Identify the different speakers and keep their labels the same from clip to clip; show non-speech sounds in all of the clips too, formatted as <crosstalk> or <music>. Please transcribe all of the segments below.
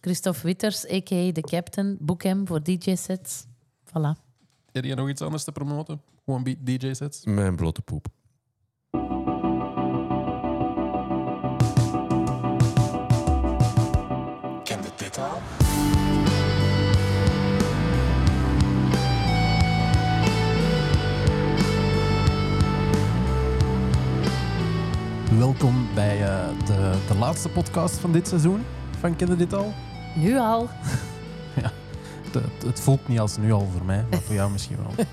Speaker 1: Christophe Witters, a.k.a. de captain. Boek hem voor DJ-sets. Voilà.
Speaker 2: Heb je nog iets anders te promoten? Gewoon beat DJ-sets?
Speaker 3: Mijn blote poep.
Speaker 4: Kende dit al?
Speaker 2: Welkom bij eh, de, de laatste podcast van dit seizoen. Van Kende Dit Al?
Speaker 1: Nu al.
Speaker 2: Het, het- het voelt niet als nu al voor mij, maar voor jou misschien wel.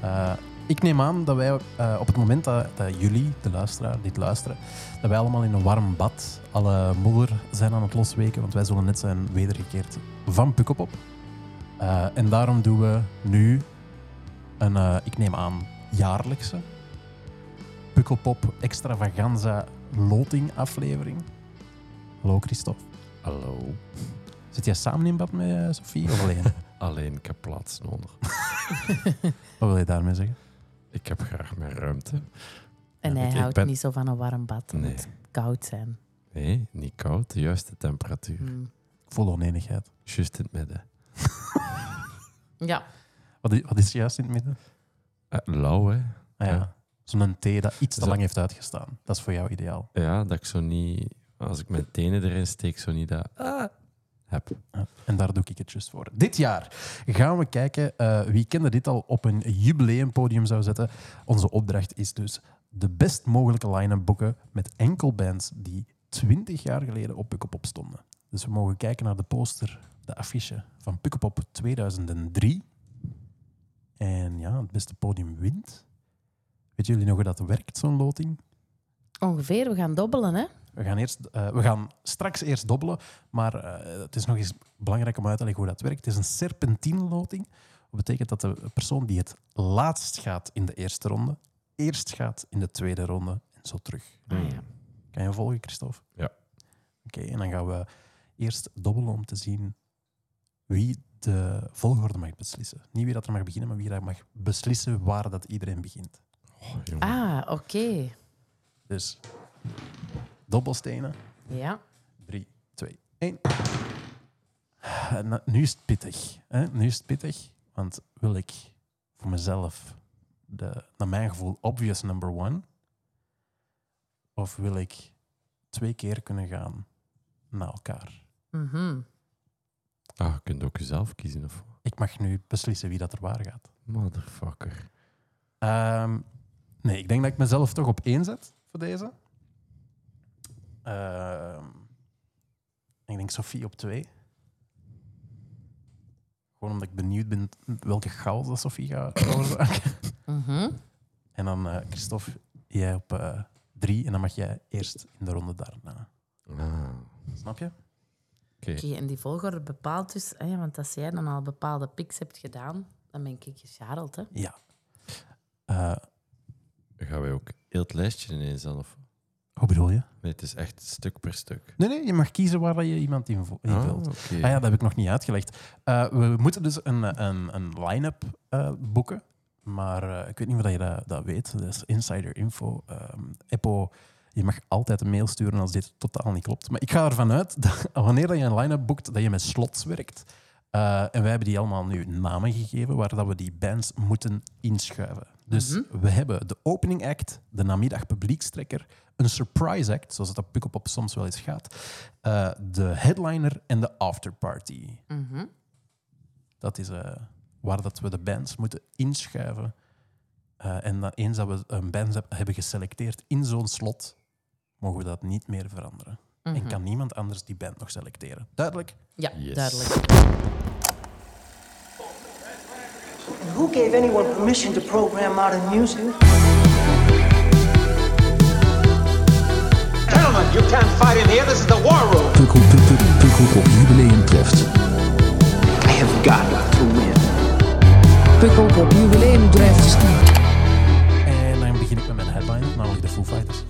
Speaker 2: Eh, ik neem aan dat wij eh, op het moment dat, dat jullie, de luisteraar, dit luisteren, dat wij allemaal in een warm bad alle modder zijn aan het losweken, want wij zullen net zijn wedergekeerd van Pukkelpop. Eh en daarom doen we nu een, eh, ik neem aan, jaarlijkse Pukkelpop extravaganza loting aflevering. Hallo Christophe.
Speaker 3: Hallo.
Speaker 2: Zit jij samen in bad met eh, Sophie of alleen?
Speaker 3: Alleen ik heb plaats nodig.
Speaker 2: Wat wil je daarmee zeggen?
Speaker 3: Ik heb graag mijn ruimte.
Speaker 1: En
Speaker 3: Ja,
Speaker 1: hij
Speaker 3: ik- ik
Speaker 1: houdt
Speaker 3: ben-
Speaker 1: niet zo van een warm bad. Het
Speaker 3: Nee.
Speaker 1: moet koud zijn.
Speaker 3: Nee, niet koud. De juiste temperatuur.
Speaker 1: Mm.
Speaker 2: Vol oneenigheid.
Speaker 3: Juist in het midden.
Speaker 1: Ja.
Speaker 2: Wat is, wat is juist in het midden?
Speaker 3: Eh, lauw, hè?
Speaker 2: Ah, ja.
Speaker 3: Ja.
Speaker 2: Zo'n thee dat iets te
Speaker 3: Zo-
Speaker 2: lang heeft uitgestaan. Dat is voor jou ideaal.
Speaker 3: Ja, dat ik zo niet... Als ik mijn tenen erin steek, zo niet dat... Ah, heb.
Speaker 2: Ja. En daar doe ik het juist voor. Dit jaar gaan we kijken eh, wie kende dit al op een jubileumpodium zou zetten. Onze opdracht is dus de best mogelijke line-up boeken met enkel bands die 20 jaar geleden op Pukkelpop stonden. Dus we mogen kijken naar de poster, de affiche van Pukkelpop 2003. En ja, het beste podium wint. Weten jullie nog hoe dat werkt, zo'n loting?
Speaker 1: Ongeveer, we gaan dobbelen, hè?
Speaker 2: We gaan, eerst, eh, we gaan straks eerst dobbelen, maar eh, het is nog eens belangrijk om uit te leggen hoe dat werkt. Het is een serpentineloting. Dat betekent dat de persoon die het laatst gaat in de eerste ronde, eerst gaat in de tweede ronde en zo terug.
Speaker 1: Ah, ja.
Speaker 2: Kan je volgen, Christophe?
Speaker 3: Ja.
Speaker 2: Oké, en dan gaan we eerst dobbelen om te zien wie de volgorde mag beslissen. Niet wie dat er mag beginnen, maar wie dat mag beslissen waar dat iedereen begint.
Speaker 3: Oh, jongen.
Speaker 1: Ah, oké.
Speaker 2: Dus dobbelstenen.
Speaker 1: Ja.
Speaker 2: 3, 2, 1. eh, Nu is het pittig. Hè? Nu is het pittig, want wil ik voor mezelf, de, naar mijn gevoel, obvious number one? Of wil ik twee keer kunnen gaan naar elkaar?
Speaker 1: Mhm.
Speaker 3: Ah, je kunt ook jezelf kiezen, of... wat?
Speaker 2: Ik mag nu beslissen wie dat er waar gaat.
Speaker 3: Motherfucker.
Speaker 2: Ehm, nee, ik denk dat ik mezelf toch op één zet voor deze. Ehm, ik denk Sophie op twee. Gewoon omdat ik benieuwd ben welke chaos dat Sophie gaat <laughs> veroorzaken.
Speaker 1: Mhm.
Speaker 2: en dan eh Christophe, jij op eh, drie. En dan mag jij eerst in de ronde daarna.
Speaker 3: Ah,
Speaker 2: Snap je?
Speaker 3: oké.
Speaker 1: Oké, en die volgorde bepaalt dus... Hè, want als jij dan al bepaalde picks hebt gedaan, dan ben ik gesjareld, hè?
Speaker 2: Ja. Eh,
Speaker 3: Gaan wij ook heel het lijstje ineens dan, of...
Speaker 2: hoe bedoel je?
Speaker 3: Nee, het is echt stuk per stuk.
Speaker 2: Nee, nee, je mag kiezen waar dat je iemand in, vo- in
Speaker 3: Ah,
Speaker 2: vult.
Speaker 3: oké.
Speaker 2: Ah ja, dat heb ik nog niet uitgelegd. Eh, we moeten dus een, eh, een, een line-up eh, boeken. Maar eh, ik weet niet of dat je dat, dat weet. Dat is insider info. Ehm, Eppo, je mag altijd een mail sturen als dit totaal niet klopt. Maar ik ga ervan uit dat <laughs> wanneer dat je een line-up boekt, dat je met slots werkt. Eh, en wij hebben die allemaal nu namen gegeven waar dat we die bands moeten inschuiven. Dus we hebben de opening act, de namiddag publiekstrekker, een surprise act, zoals het op Pukkelpop soms wel eens gaat, eh, de headliner en de afterparty.
Speaker 1: Mhm.
Speaker 2: Dat is eh, waar dat we de bands moeten inschuiven. Eh, en dan, eens dat we een band heb- hebben geselecteerd in zo'n slot, mogen we dat niet meer veranderen. En kan niemand anders die band nog selecteren. Duidelijk?
Speaker 1: Ja,
Speaker 3: Yes.
Speaker 1: duidelijk.
Speaker 5: Who gave anyone permission to program modern music?
Speaker 6: Gentlemen, you can't fight in here. This is the war room.
Speaker 7: Pukkel, pukkel, pukkel op jubileum treft.
Speaker 4: I have got to win.
Speaker 8: Pukkelpop Jubileum Draft.
Speaker 2: En dan begin ik met mijn headliner, namelijk de Foo Fighters.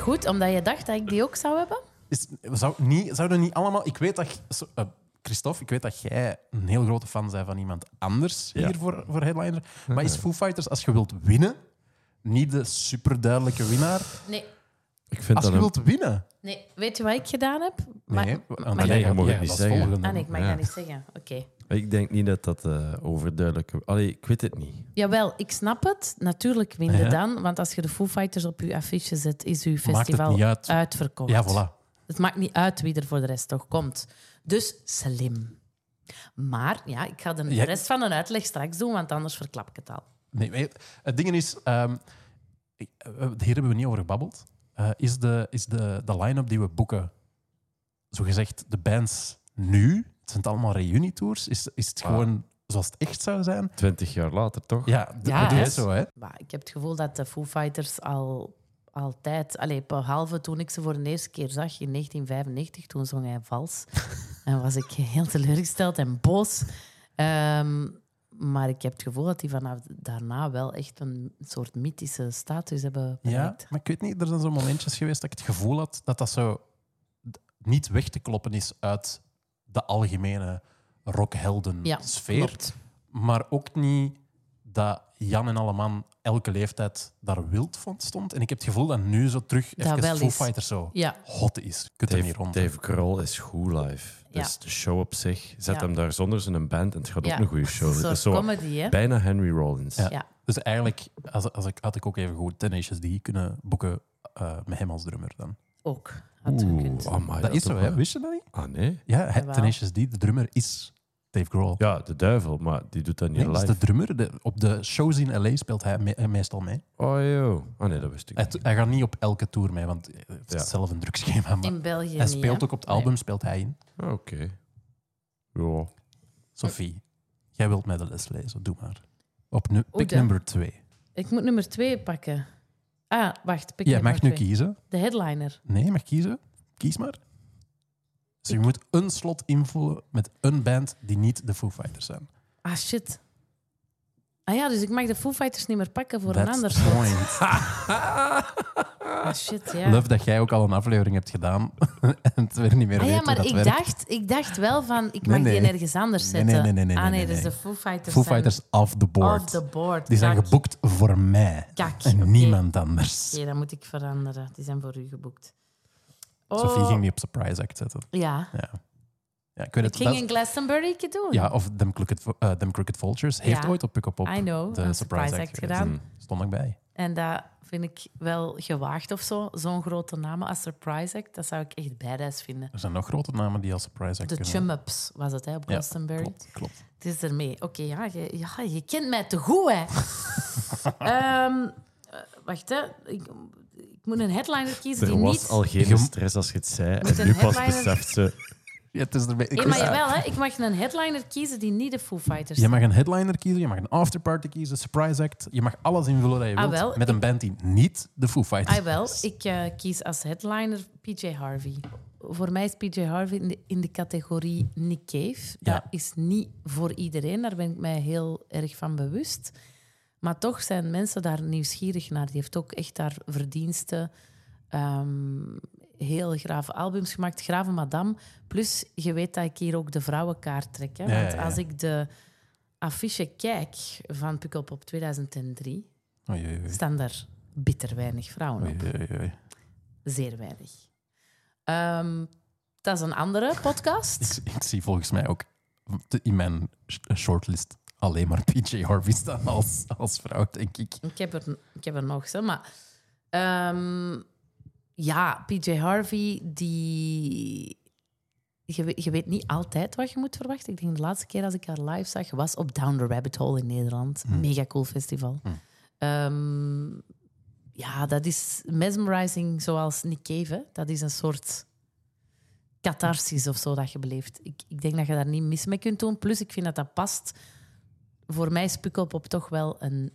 Speaker 1: Goed, omdat je dacht dat ik die ook zou hebben?
Speaker 2: Is, zou, niet, zouden niet allemaal... Ik weet dat... so- eh, Christophe, ik weet dat jij een heel grote fan bent van iemand anders
Speaker 3: Ja.
Speaker 2: hier voor, voor Headliner. Maar is Foo Fighters, als je wilt winnen, niet de superduidelijke winnaar?
Speaker 1: Nee.
Speaker 3: Ik vind
Speaker 2: Als je
Speaker 3: dat een...
Speaker 2: wilt winnen.
Speaker 1: Nee, weet je wat ik gedaan heb?
Speaker 2: nee,
Speaker 1: mag-
Speaker 2: want
Speaker 1: mag
Speaker 3: nee,
Speaker 2: jij
Speaker 1: ik-
Speaker 3: je
Speaker 2: gaat-
Speaker 3: mag het
Speaker 2: jij
Speaker 3: niet
Speaker 2: was
Speaker 3: zeggen.
Speaker 2: volgende.
Speaker 1: Ah, nee, ik mag
Speaker 3: Nou, Ja.
Speaker 1: dat niet zeggen. Oké.
Speaker 3: Ik denk niet dat dat eh, overduidelijk... Allee, ik weet het niet.
Speaker 1: Jawel, ik snap het. Natuurlijk winnen
Speaker 2: Ja.
Speaker 1: dan, want als je de Foo Fighters op je affiche zet, is uw
Speaker 2: het
Speaker 1: festival
Speaker 2: niet uit.
Speaker 1: uitverkocht.
Speaker 2: Ja, voilà.
Speaker 1: Het maakt niet uit wie er voor de rest toch komt. Dus slim. Maar ja, ik ga de
Speaker 2: Ja.
Speaker 1: rest van een uitleg straks doen, want anders verklap ik het al.
Speaker 2: Nee, maar het ding is, ehm, ik- eh, hier hebben we niet over gebabbeld. Eh, is de, is de, de line-up die we boeken, zogezegd de bands nu, het zijn allemaal reunietours, is, is het
Speaker 3: Wow.
Speaker 2: gewoon zoals het echt zou zijn?
Speaker 3: Twintig jaar later, toch?
Speaker 2: Ja, d-
Speaker 1: Ja,
Speaker 2: dat is
Speaker 1: hè?
Speaker 2: zo, hè?
Speaker 1: Maar ik heb het gevoel dat de Foo Fighters al altijd, allee, behalve toen ik ze voor de eerste keer zag in 1995, toen zong hij
Speaker 3: <laughs>
Speaker 1: vals. en was ik heel teleurgesteld en boos. Ehm, maar ik heb het gevoel dat die vanaf daarna wel echt een soort mythische status hebben
Speaker 2: Ja,
Speaker 1: bereikt.
Speaker 2: maar ik weet niet, er zijn zo momentjes geweest dat ik het gevoel had dat dat zo d- niet weg te kloppen is uit de algemene
Speaker 1: Ja,
Speaker 2: rockhelden-sfeer.
Speaker 1: klopt.
Speaker 2: maar ook niet dat Jan en Alleman elke leeftijd daar wild van stond. En ik heb het gevoel dat nu zo terug
Speaker 1: Dat
Speaker 2: even
Speaker 1: wel
Speaker 2: Foo
Speaker 1: is.
Speaker 2: Fighters zo
Speaker 1: Ja.
Speaker 2: hot is. Je kunt er niet
Speaker 3: Dave,
Speaker 2: rond.
Speaker 3: Dave Grohl is goed live. Dus
Speaker 1: Ja.
Speaker 3: de show op zich, zet
Speaker 1: Ja.
Speaker 3: hem daar zonder zijn band en het gaat
Speaker 1: Ja.
Speaker 3: ook een goede show.
Speaker 1: Een
Speaker 3: Dat is
Speaker 1: soort
Speaker 3: zo
Speaker 1: comedy, hè?
Speaker 3: bijna Henry Rollins.
Speaker 2: Ja.
Speaker 1: Ja.
Speaker 2: Dus eigenlijk als, als ik, had ik ook even goed Tenacious D kunnen boeken eh, met hem als drummer dan.
Speaker 1: Ook had gekund.
Speaker 3: Oeh, amai,
Speaker 2: dat is zo,
Speaker 3: ook
Speaker 2: hè?
Speaker 3: Ah wel.
Speaker 2: Wist je dat niet?
Speaker 3: Ah, nee?
Speaker 2: Ja, hij-
Speaker 1: Jawel.
Speaker 2: Tenacious D, de drummer, is Dave Grohl.
Speaker 3: Ja, de duivel, maar die doet dat niet
Speaker 2: Nee, dat is
Speaker 3: live.
Speaker 2: de drummer. De- op de shows in L.A. speelt hij me- eh, meestal mee.
Speaker 3: Oh, joh. Ah, nee, dat wist ik
Speaker 2: Hij,
Speaker 3: niet.
Speaker 2: t- hij gaat niet op elke tour mee, want hij heeft
Speaker 3: Ja.
Speaker 2: zelf een drugschema. Maar
Speaker 1: In België
Speaker 2: hij
Speaker 1: niet,
Speaker 2: speelt
Speaker 1: hè?
Speaker 2: ook op het album, speelt hij in.
Speaker 3: Ah, Oké. Ja.
Speaker 2: Sophie, jij wilt mij de les lezen. Doe maar. Op nu, pick
Speaker 1: dan?
Speaker 2: nummer twee.
Speaker 1: Nee. Ik moet nummer twee pakken. Ah, wacht. Pik
Speaker 2: Jij
Speaker 1: nummer
Speaker 2: mag nu
Speaker 1: twee.
Speaker 2: kiezen.
Speaker 1: De headliner.
Speaker 2: Nee, je mag kiezen. Kies maar. Dus je moet een slot invullen met een band die niet de Foo Fighters zijn.
Speaker 1: Ah, shit. Ah ja, dus ik mag de Foo Fighters niet meer pakken voor een
Speaker 2: That's
Speaker 1: ander
Speaker 2: the
Speaker 1: slot. <laughs>
Speaker 2: point.
Speaker 1: Ah, shit, ja.
Speaker 2: Love dat jij ook al een aflevering hebt gedaan <laughs> en het weer niet meer
Speaker 1: Ah
Speaker 2: weet
Speaker 1: ja,
Speaker 2: hoe
Speaker 1: maar
Speaker 2: dat
Speaker 1: ik
Speaker 2: werkt.
Speaker 1: dacht, ik dacht wel van, ik
Speaker 2: Nee,
Speaker 1: mag die
Speaker 2: nee.
Speaker 1: ergens anders
Speaker 2: Nee,
Speaker 1: zetten.
Speaker 2: nee, nee, nee, nee,
Speaker 1: ah nee,
Speaker 2: nee,
Speaker 1: dus
Speaker 2: nee.
Speaker 1: de Foo Fighters
Speaker 2: Foo
Speaker 1: zijn
Speaker 2: Fighters off the board.
Speaker 1: off the board.
Speaker 2: Die zijn
Speaker 1: Kak.
Speaker 2: geboekt voor mij
Speaker 1: Kak,
Speaker 2: en
Speaker 1: oké.
Speaker 2: niemand anders.
Speaker 1: Oké, dat moet ik veranderen. Die zijn voor u geboekt. Oh,
Speaker 2: Sophie ging die op surprise act zetten.
Speaker 1: Ja.
Speaker 2: Ja. Ja, ik weet
Speaker 1: Ik
Speaker 2: het.
Speaker 1: ging
Speaker 2: dat-
Speaker 1: een Glastonbury doen.
Speaker 2: Ja, of Them Crooked, eh, Them Crooked Vultures heeft
Speaker 1: Ja.
Speaker 2: ooit op Pick Up Up
Speaker 1: I know,
Speaker 2: de
Speaker 1: een
Speaker 2: surprise,
Speaker 1: surprise
Speaker 2: act,
Speaker 1: act
Speaker 2: geweest.
Speaker 1: gedaan.
Speaker 2: Stond ik bij.
Speaker 1: En dat vind ik wel gewaagd of zo. Zo'n grote naam als Surprise Act, dat zou ik echt badass vinden.
Speaker 2: Er zijn nog grote namen die als surprise act
Speaker 1: De
Speaker 2: kunnen.
Speaker 1: Chum-Ups was het, hè, op Glastonbury.
Speaker 2: klopt, klopt.
Speaker 1: Het is ermee. Oké, ja, je, ja, je kent mij te goed, hè. Ehm, eh, wacht, hè. Ik, ik moet een headliner kiezen
Speaker 3: Er
Speaker 1: die
Speaker 3: was
Speaker 1: niet...
Speaker 3: al geen
Speaker 2: Je-
Speaker 3: stress als je het zei.
Speaker 1: Moet
Speaker 3: En
Speaker 1: een
Speaker 3: nu pas
Speaker 1: headliner-
Speaker 3: beseft ze...
Speaker 2: Ja, het is erbij. Ik
Speaker 1: Nee,
Speaker 2: wist-
Speaker 1: Eh, maar jawel, hè. Ik mag een headliner kiezen die niet de Foo Fighters
Speaker 2: Je mag een headliner kiezen, je mag een afterparty kiezen, surprise act. Je mag alles invullen dat je
Speaker 1: Ah,
Speaker 2: wilt
Speaker 1: wel,
Speaker 2: met een band die niet de Foo Fighters
Speaker 1: Ah, wel.
Speaker 2: is.
Speaker 1: Ik eh, kies als headliner PJ Harvey. Voor mij is PJ Harvey in de, in de categorie Nick Cave.
Speaker 2: Ja.
Speaker 1: Dat is niet voor iedereen, daar ben ik mij heel erg van bewust. Maar toch zijn mensen daar nieuwsgierig naar. Die heeft ook echt daar verdiensten. ehm, heel grave albums gemaakt. Grave Madame. Plus, je weet dat ik hier ook de vrouwenkaart trek. Hè?
Speaker 2: Ja,
Speaker 1: Want
Speaker 2: ja, ja.
Speaker 1: als ik de affiche kijk van Puk op 2003,
Speaker 2: Oei, oei, oei.
Speaker 1: staan daar bitter weinig vrouwen op.
Speaker 2: Oei, oei, oei.
Speaker 1: Zeer weinig. Ehm, dat is een andere
Speaker 2: <laughs>
Speaker 1: podcast.
Speaker 2: Ik, ik zie volgens mij ook te- in mijn sh- shortlist alleen maar PJ Harvey staan als, als vrouw, denk ik.
Speaker 1: ik, heb er, ik heb er nog zo, maar... ehm, ja, PJ Harvey, die... Je, we- je weet niet altijd wat je moet verwachten. Ik denk de laatste keer als ik haar live zag, was op Down the Rabbit Hole in Nederland. Mega cool festival. Ehm, ja, dat is mesmerizing zoals Nick Cave. hè. Dat is een soort... catharsis of zo dat je beleeft. Ik, ik denk dat je daar niet mis mee kunt doen. Plus, ik vind dat dat past. Voor mij is Pukkelpop op toch wel een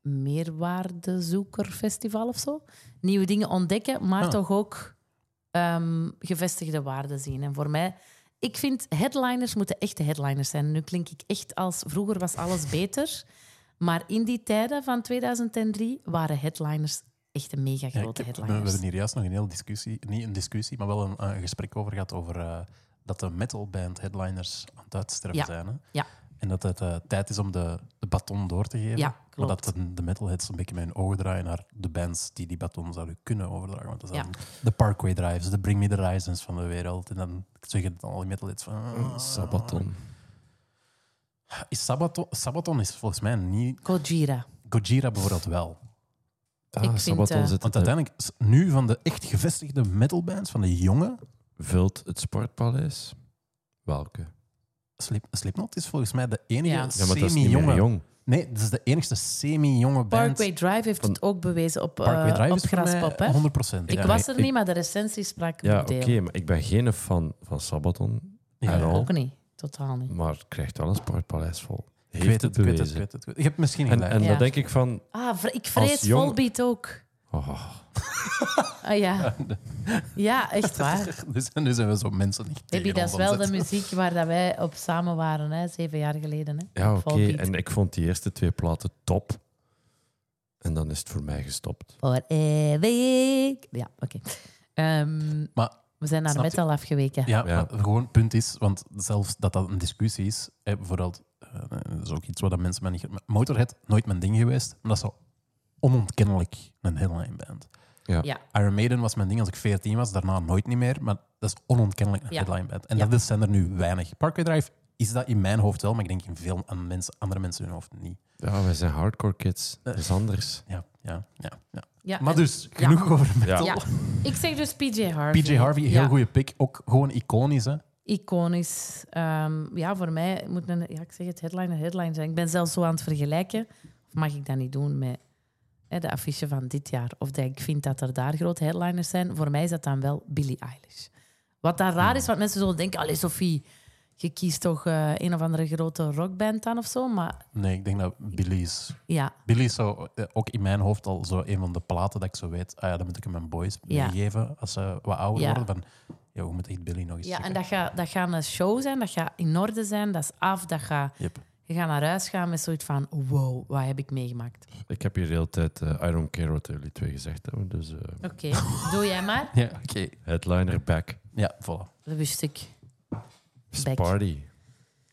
Speaker 1: meerwaardezoekerfestival of zo. Nieuwe dingen ontdekken, maar
Speaker 2: Ah.
Speaker 1: toch ook ehm, gevestigde waarden zien. En voor mij, ik vind headliners moeten echte headliners zijn. Nu klink ik echt als vroeger was
Speaker 2: <laughs>
Speaker 1: alles beter. Maar in die tijden van 2003 waren headliners echt een mega
Speaker 2: Ja,
Speaker 1: grote
Speaker 2: ik heb- we, we
Speaker 1: headliners.
Speaker 2: hebben hier juist nog een hele discussie, niet een discussie, maar wel een, eh, gesprek over gehad over eh, dat de metalband headliners aan het uitsterven
Speaker 1: Ja.
Speaker 2: zijn. Hè?
Speaker 1: Ja.
Speaker 2: En dat het eh, tijd is om de, de baton door te geven.
Speaker 1: Ja,
Speaker 2: Maar
Speaker 1: klopt.
Speaker 2: dat de, de metalheads een beetje met hun ogen draaien naar de bands die die baton zouden kunnen overdragen. Want dat zijn
Speaker 1: Ja.
Speaker 2: de Parkway Drives, de Bring Me The Horizons van de wereld. En dan zeggen dan al die metalheads van... "Ah."
Speaker 3: Sabaton.
Speaker 2: Is Sabaton, Sabaton is volgens mij niet...
Speaker 1: Gojira.
Speaker 2: Gojira bijvoorbeeld wel.
Speaker 3: Ah,
Speaker 1: vind,
Speaker 3: Sabaton
Speaker 1: eh,
Speaker 3: zit
Speaker 2: Want
Speaker 3: het-
Speaker 2: uiteindelijk, s- nu van de echt gevestigde metalbands, van de jonge...
Speaker 3: vult het sportpaleis. Welke?
Speaker 2: Slip, Slipknot is volgens mij de enige
Speaker 1: Ja.
Speaker 3: Ja, maar dat is niet meer
Speaker 2: semi-jonge...
Speaker 3: jong.
Speaker 2: nee, dat is de enige semi-jonge band.
Speaker 1: Parkway Drive heeft het ook bewezen op, eh,
Speaker 2: Parkway Drive
Speaker 1: op
Speaker 2: is voor mij
Speaker 1: Graspop. Hè?
Speaker 2: 100 procent.
Speaker 1: Ik
Speaker 3: Ja,
Speaker 1: was
Speaker 3: maar
Speaker 1: er
Speaker 3: ik-
Speaker 1: niet, maar de recensie sprak
Speaker 3: Ja, oké,
Speaker 1: oordeel.
Speaker 3: maar ik ben geen fan van Sabaton.
Speaker 2: Ja,
Speaker 3: at all,
Speaker 1: Ook niet. Totaal niet.
Speaker 3: Maar het krijgt wel een sportpaleis vol.
Speaker 2: Ik
Speaker 3: Heeft
Speaker 2: weet het, ik weet het, ik
Speaker 3: bewezen.
Speaker 2: weet het. ik weet het. Je hebt misschien
Speaker 3: En,
Speaker 2: gelijk.
Speaker 3: en
Speaker 1: Ja.
Speaker 3: dan denk ik van...
Speaker 1: Ah, vre- ik vrees
Speaker 3: Als jong-
Speaker 1: Volbeat ook.
Speaker 3: oh,
Speaker 1: Ah
Speaker 2: <laughs>
Speaker 1: ja. Ja, echt waar.
Speaker 2: <laughs> dus nu zijn we zo mensen niet
Speaker 1: Baby,
Speaker 2: tegen
Speaker 1: dat
Speaker 2: ons
Speaker 1: is wel de
Speaker 2: aanzetten.
Speaker 1: muziek waar dat wij op samen waren, hè, zeven jaar geleden. Hè,
Speaker 3: ja,
Speaker 1: op
Speaker 3: oké.
Speaker 1: Volbeat.
Speaker 3: En ik vond die eerste twee platen top. En dan is het voor mij gestopt.
Speaker 1: Voor eeuwig. Ja, oké. Ehm,
Speaker 2: Maar
Speaker 1: we zijn naar
Speaker 2: Snap je?
Speaker 1: metal afgeweken.
Speaker 2: ja,
Speaker 3: Ja.
Speaker 2: maar gewoon het punt is, want zelfs dat dat een discussie is, hè, bijvoorbeeld, eh, dat is ook iets wat dat mensen mij niet... Motorhead, nooit mijn ding geweest, maar dat is zo onontkennelijk een headline band.
Speaker 3: Ja.
Speaker 1: Ja.
Speaker 2: Iron Maiden was mijn ding als ik 14 was, daarna nooit niet meer, maar dat is onontkennelijk een
Speaker 1: Ja.
Speaker 2: headline band. En
Speaker 1: Ja.
Speaker 2: dat is, zijn er nu weinig. Parkway Drive is dat in mijn hoofd wel, maar ik denk in veel aan mensen, andere mensen hun hoofd niet.
Speaker 3: Ja, wij zijn hardcore kids.
Speaker 2: Eh.
Speaker 3: Dat is anders.
Speaker 2: Ja, ja, ja. ja.
Speaker 1: Eh, Ja,
Speaker 2: maar
Speaker 1: en-
Speaker 2: dus, genoeg over
Speaker 3: Ja.
Speaker 2: metal.
Speaker 1: Ja. Ik zeg dus PJ Harvey.
Speaker 2: PJ Harvey, heel
Speaker 1: Ja,
Speaker 2: goede pick. Ook gewoon iconisch, hè?
Speaker 1: Iconisch. Ehm, ja, voor mij moet een... Ja, ik zeg het, headline een headline zijn. Ik ben zelfs zo aan het vergelijken. Of mag ik dat niet doen met hè, de affiche van dit jaar? Of dat ik vind dat er daar grote headliners zijn. Voor mij is dat dan wel Billie Eilish. Wat daar raar is, want mensen zullen denken... Allee, Sophie, je kiest toch eh, een of andere grote rockband dan of zo? Maar
Speaker 2: Nee, ik denk dat Billy's.
Speaker 1: ja,
Speaker 2: Billy is zo, eh, ook in mijn hoofd al zo een van de platen dat ik zo weet. Ah ja, dat moet ik aan mijn boys
Speaker 1: Ja.
Speaker 2: meegeven als ze wat ouder
Speaker 1: Ja.
Speaker 2: worden. Van, ja, we moeten echt Billy nog eens
Speaker 1: Ja, en
Speaker 2: checken.
Speaker 1: dat gaat, dat gaat een show zijn, dat gaat in orde zijn, dat is af, dat gaat...
Speaker 2: Yep.
Speaker 1: Je gaat naar huis gaan met zoiets van, wow, wat heb ik meegemaakt?
Speaker 3: Ik heb hier de hele tijd eh, I don't care wat jullie twee gezegd hebben. Dus eh,
Speaker 1: Oké, doe jij maar.
Speaker 2: Ja, oké.
Speaker 3: headliner back.
Speaker 2: Ja, voilà.
Speaker 1: Dat wist ik,
Speaker 3: Is
Speaker 1: Back.
Speaker 3: Party.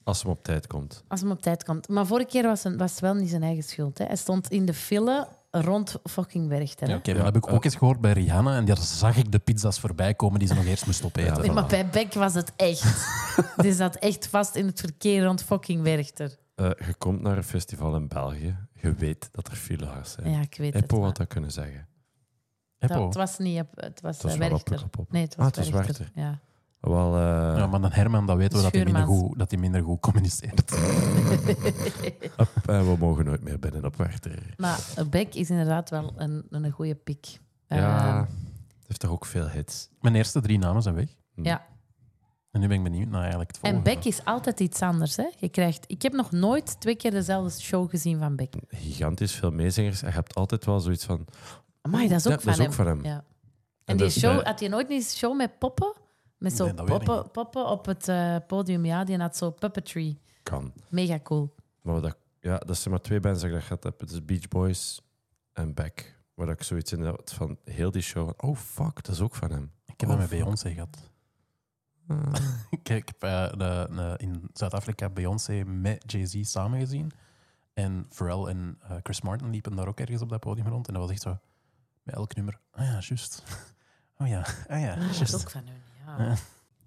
Speaker 3: Als hem op tijd komt.
Speaker 1: als hem op tijd komt. Maar vorige keer was, een, was het wel niet zijn eigen schuld. Hè. Hij stond in de file rond fucking Werchter.
Speaker 2: Ja,
Speaker 1: hè.
Speaker 2: oké, maar dat heb ik ook eens gehoord bij Rihanna. En daar zag ik de pizza's voorbij komen die ze nog eerst moest opeten.
Speaker 1: Nee, maar bij Beck was het echt. Die zat echt vast in het verkeer rond fucking Werchter.
Speaker 3: Eh, je komt naar een festival in België. Je weet dat er filaars zijn.
Speaker 1: Ja, ik weet het.
Speaker 3: Eppo
Speaker 1: maar
Speaker 3: had dat kunnen zeggen.
Speaker 1: dat-
Speaker 2: Eppo.
Speaker 1: het was niet, op- het was,
Speaker 3: Het was
Speaker 1: eh,
Speaker 3: wel op,
Speaker 1: Werchter.
Speaker 3: op, op.
Speaker 1: Nee, het
Speaker 3: Ah,
Speaker 1: was,
Speaker 3: het was
Speaker 1: Werchter. Ja.
Speaker 3: Wel, eh,
Speaker 2: Ja, maar dan Herman, dan weten we dat hij minder
Speaker 1: Schuurmans.
Speaker 2: goed, dat hij minder goed communiceert.
Speaker 3: eh, we mogen nooit meer binnen op Werchter.
Speaker 1: Maar Beck is inderdaad wel een, een goede pick.
Speaker 3: Ja,
Speaker 1: Ehm,
Speaker 3: het heeft toch ook veel hits.
Speaker 2: Mijn eerste drie namen zijn weg.
Speaker 1: ja.
Speaker 2: En nu ben ik benieuwd naar eigenlijk het
Speaker 1: En
Speaker 2: volgende.
Speaker 1: Beck is altijd iets anders. Hè? Je krijgt, ik heb nog nooit twee keer dezelfde show gezien van Beck.
Speaker 3: Gigantisch veel meezingers. En je hebt altijd wel zoiets van...
Speaker 1: Amai, dat is ook,
Speaker 3: Ja,
Speaker 1: van,
Speaker 3: dat is
Speaker 1: hem.
Speaker 3: ook van hem.
Speaker 1: Ja. En,
Speaker 3: En dus,
Speaker 1: die
Speaker 3: eh, dat is
Speaker 1: show,
Speaker 3: bij-
Speaker 1: had je nooit een show met poppen? Met zo
Speaker 2: Nee, dat weet ik
Speaker 1: poppen, poppen op het eh, podium, ja. Die had zo puppetry.
Speaker 3: Kan.
Speaker 1: Mega cool.
Speaker 3: Maar dat, ja, dat zijn maar twee bands dat ik dat gehad heb. Het is Beach Boys en Beck. Waar ik zoiets in had van heel die show. Van, oh fuck, dat is ook van hem.
Speaker 2: Ik heb dat
Speaker 3: Oh,
Speaker 2: met
Speaker 3: fuck.
Speaker 2: Beyoncé gehad.
Speaker 1: Ah.
Speaker 2: <laughs> Ik heb eh, de- de- in Zuid-Afrika Beyoncé met Jay-Z samen gezien. En Pharrell en eh, Chris Martin liepen daar ook ergens op dat podium rond. En dat was echt zo, met elk nummer. Ah ja, juist. <laughs> Oh ja, ah ja,
Speaker 1: Ah, dat is
Speaker 2: juist.
Speaker 1: ook van hun, ja.
Speaker 2: Ja.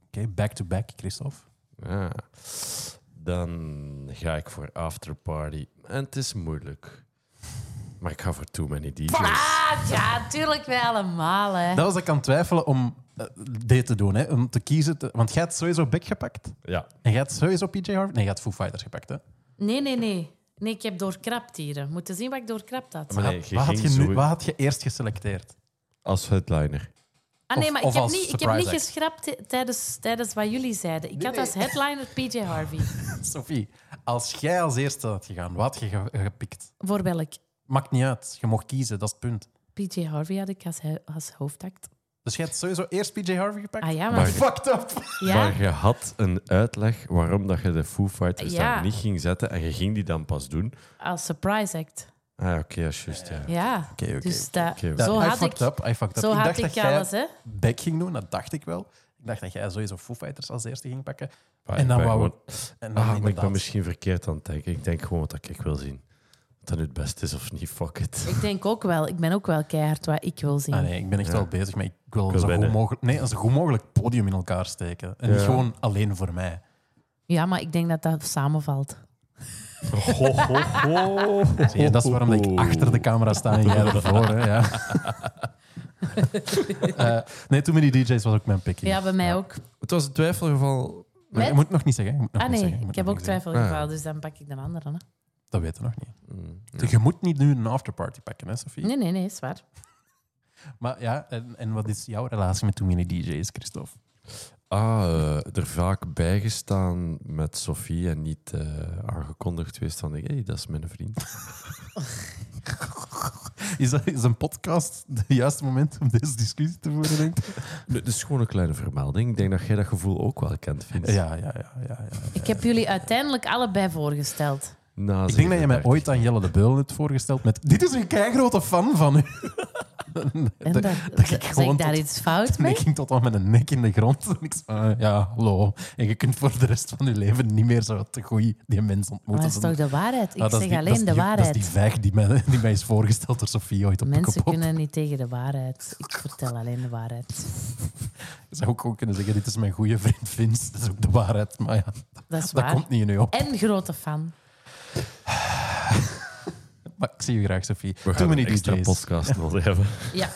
Speaker 2: Oké, back-to-back, Christophe.
Speaker 3: Ja. Dan ga ik voor After Party. En het is moeilijk. Maar ik ga voor Too Many DJs.
Speaker 1: Ah, ja, tuurlijk wij allemaal, hè.
Speaker 2: Dat was dat ik aan het twijfelen om eh, dit te doen, hè. om te kiezen. te- want jij had sowieso Beck gepakt.
Speaker 3: Ja.
Speaker 2: En jij had sowieso PJ Harvey. Nee, jij had Foo Fighters gepakt, hè.
Speaker 1: Nee, nee, nee. Nee, ik heb doorkrapt hier. Moeten zien wat ik doorkrapt had.
Speaker 3: Maar nee, je
Speaker 2: Wat had
Speaker 3: ging
Speaker 2: je, nu,
Speaker 3: zo-
Speaker 2: wat had je eerst geselecteerd? <laughs>
Speaker 3: Als headliner.
Speaker 1: Ah nee,
Speaker 2: Of-
Speaker 1: maar
Speaker 2: of
Speaker 1: ik, heb
Speaker 2: als
Speaker 1: niet, ik heb
Speaker 2: surprise
Speaker 1: niet
Speaker 2: act.
Speaker 1: geschrapt ti- tijdens, tijdens wat jullie zeiden. Ik had als headliner PJ Harvey.
Speaker 2: Sophie, als jij als eerste had gegaan, wat had je ge- gepikt?
Speaker 1: Voor welk?
Speaker 2: Maakt niet uit. Je mocht kiezen, dat is het punt.
Speaker 1: PJ Harvey had ik als, he- als hoofdact.
Speaker 2: Dus jij hebt sowieso eerst PJ Harvey gepakt?
Speaker 1: Ah ja, maar...
Speaker 3: Maar-
Speaker 2: Fucked up!
Speaker 1: ja?
Speaker 3: Maar je had een uitleg waarom dat je de Foo Fighters
Speaker 1: Ja.
Speaker 3: daar niet ging zetten. En je ging die dan pas doen.
Speaker 1: Als surprise act.
Speaker 3: Ah, ja, oké, dat is juist, ja.
Speaker 1: Ja.
Speaker 2: oké,
Speaker 1: dus dat,
Speaker 3: oké.
Speaker 1: zo
Speaker 2: I
Speaker 1: had
Speaker 2: fucked
Speaker 1: ik...
Speaker 2: up, I fucked up.
Speaker 1: Zo
Speaker 2: ik
Speaker 1: had
Speaker 2: dacht
Speaker 1: ik
Speaker 2: dat jij
Speaker 1: alles, hè.
Speaker 2: back ging doen, dat dacht ik wel. Ik dacht dat jij sowieso Foo Fighters als eerste ging pakken.
Speaker 3: Maar
Speaker 2: en
Speaker 3: ik
Speaker 2: dan
Speaker 3: ben
Speaker 2: wou
Speaker 3: gewoon-
Speaker 2: we... En dan
Speaker 3: Ah, maar ik
Speaker 2: inderdaad-
Speaker 3: ben misschien verkeerd aan het denken. Ik denk gewoon wat ik ik wil zien. Of dat nu het beste is of niet, fuck it.
Speaker 1: Ik denk ook wel, ik ben ook wel keihard wat ik wil zien.
Speaker 2: Ah, nee, ik ben echt
Speaker 3: Ja.
Speaker 2: wel bezig, maar ik wil,
Speaker 3: wil
Speaker 2: zo, goed
Speaker 3: winnen.
Speaker 2: mogelijk, nee, een zo goed mogelijk podium in elkaar steken. En niet
Speaker 3: Ja.
Speaker 2: gewoon alleen voor mij.
Speaker 1: Ja, maar ik denk dat dat samenvalt.
Speaker 3: Ho, ho, ho.
Speaker 2: Zie je, dat is waarom dat ik achter de camera sta en jij ervoor. Hè, ja. <laughs> Eh, nee, Too Many DJ's was ook mijn pick.
Speaker 1: Ja, bij mij ook.
Speaker 3: Het was een twijfelgeval.
Speaker 2: Maar je
Speaker 1: Met?
Speaker 2: moet het nog niet zeggen. je moet het
Speaker 1: Ah
Speaker 2: nog niet
Speaker 1: nee,
Speaker 2: zeggen, je
Speaker 1: ik
Speaker 2: moet
Speaker 1: heb
Speaker 2: het
Speaker 1: ook
Speaker 2: nog niet zeggen.
Speaker 1: twijfel
Speaker 3: Ah, ja.
Speaker 1: dus dan pak ik de andere. Hè.
Speaker 2: Dat weten we nog niet.
Speaker 3: Mm,
Speaker 2: Je moet niet nu een afterparty pakken, hè, Sophie?
Speaker 1: Nee, nee, nee, is waar.
Speaker 2: Maar ja, en, en wat is jouw relatie met Too Many DJ's, Christophe? <laughs>
Speaker 3: Ah, eh, er vaak bijgestaan met Sophie en niet eh, aangekondigd geweest van, hé, hey, dat is mijn
Speaker 2: <laughs>
Speaker 3: vriend.
Speaker 2: Is, dat, is een podcast het juiste moment om deze discussie te voeren, denk ik?
Speaker 3: Nee, dat is gewoon een kleine vermelding. Ik denk dat jij dat gevoel ook wel kent, Vince.
Speaker 2: Ja, ja, ja. ja, ja.
Speaker 1: Ik heb jullie uiteindelijk allebei voorgesteld.
Speaker 3: Na
Speaker 2: Ik denk dat je mij
Speaker 3: 37.
Speaker 2: ooit aan Jelle de Beul hebt voorgesteld met... Dit is een keigrote fan van u. <laughs>
Speaker 1: En dat,
Speaker 2: dat- dat ik
Speaker 1: zeg
Speaker 2: gewoon
Speaker 1: ik daar
Speaker 2: tot-
Speaker 1: iets fout
Speaker 2: En
Speaker 1: mee?
Speaker 2: ik ging tot aan met een nek in de grond. <laughs> En ik zei, ah, ja, hallo. En je kunt voor de rest van je leven niet meer zo te goed die mensen
Speaker 1: Maar
Speaker 2: ontmoeten.
Speaker 1: dat is toch de waarheid? Ik
Speaker 2: Ah, dat
Speaker 1: zeg
Speaker 2: is die- dat
Speaker 1: alleen
Speaker 2: is
Speaker 1: de
Speaker 2: die- Dat is
Speaker 1: waarheid.
Speaker 2: die vijg die mij, die mij is voorgesteld door Sofie ooit op de
Speaker 1: Mensen
Speaker 2: kapot.
Speaker 1: kunnen niet tegen de waarheid. Ik vertel alleen de waarheid.
Speaker 2: Je zou ook gewoon kunnen zeggen, dit is mijn goede vriend Vince. Dat is ook de waarheid. Maar ja,
Speaker 1: Dat is
Speaker 2: dat
Speaker 1: waar.
Speaker 2: komt niet in u op.
Speaker 1: En grote fan.
Speaker 2: Maar ik zie je graag, Sofie.
Speaker 3: We
Speaker 2: Too
Speaker 3: gaan
Speaker 2: many
Speaker 3: een extra
Speaker 2: DJ's. <laughs>
Speaker 3: podcast nodig hebben.
Speaker 1: Ja.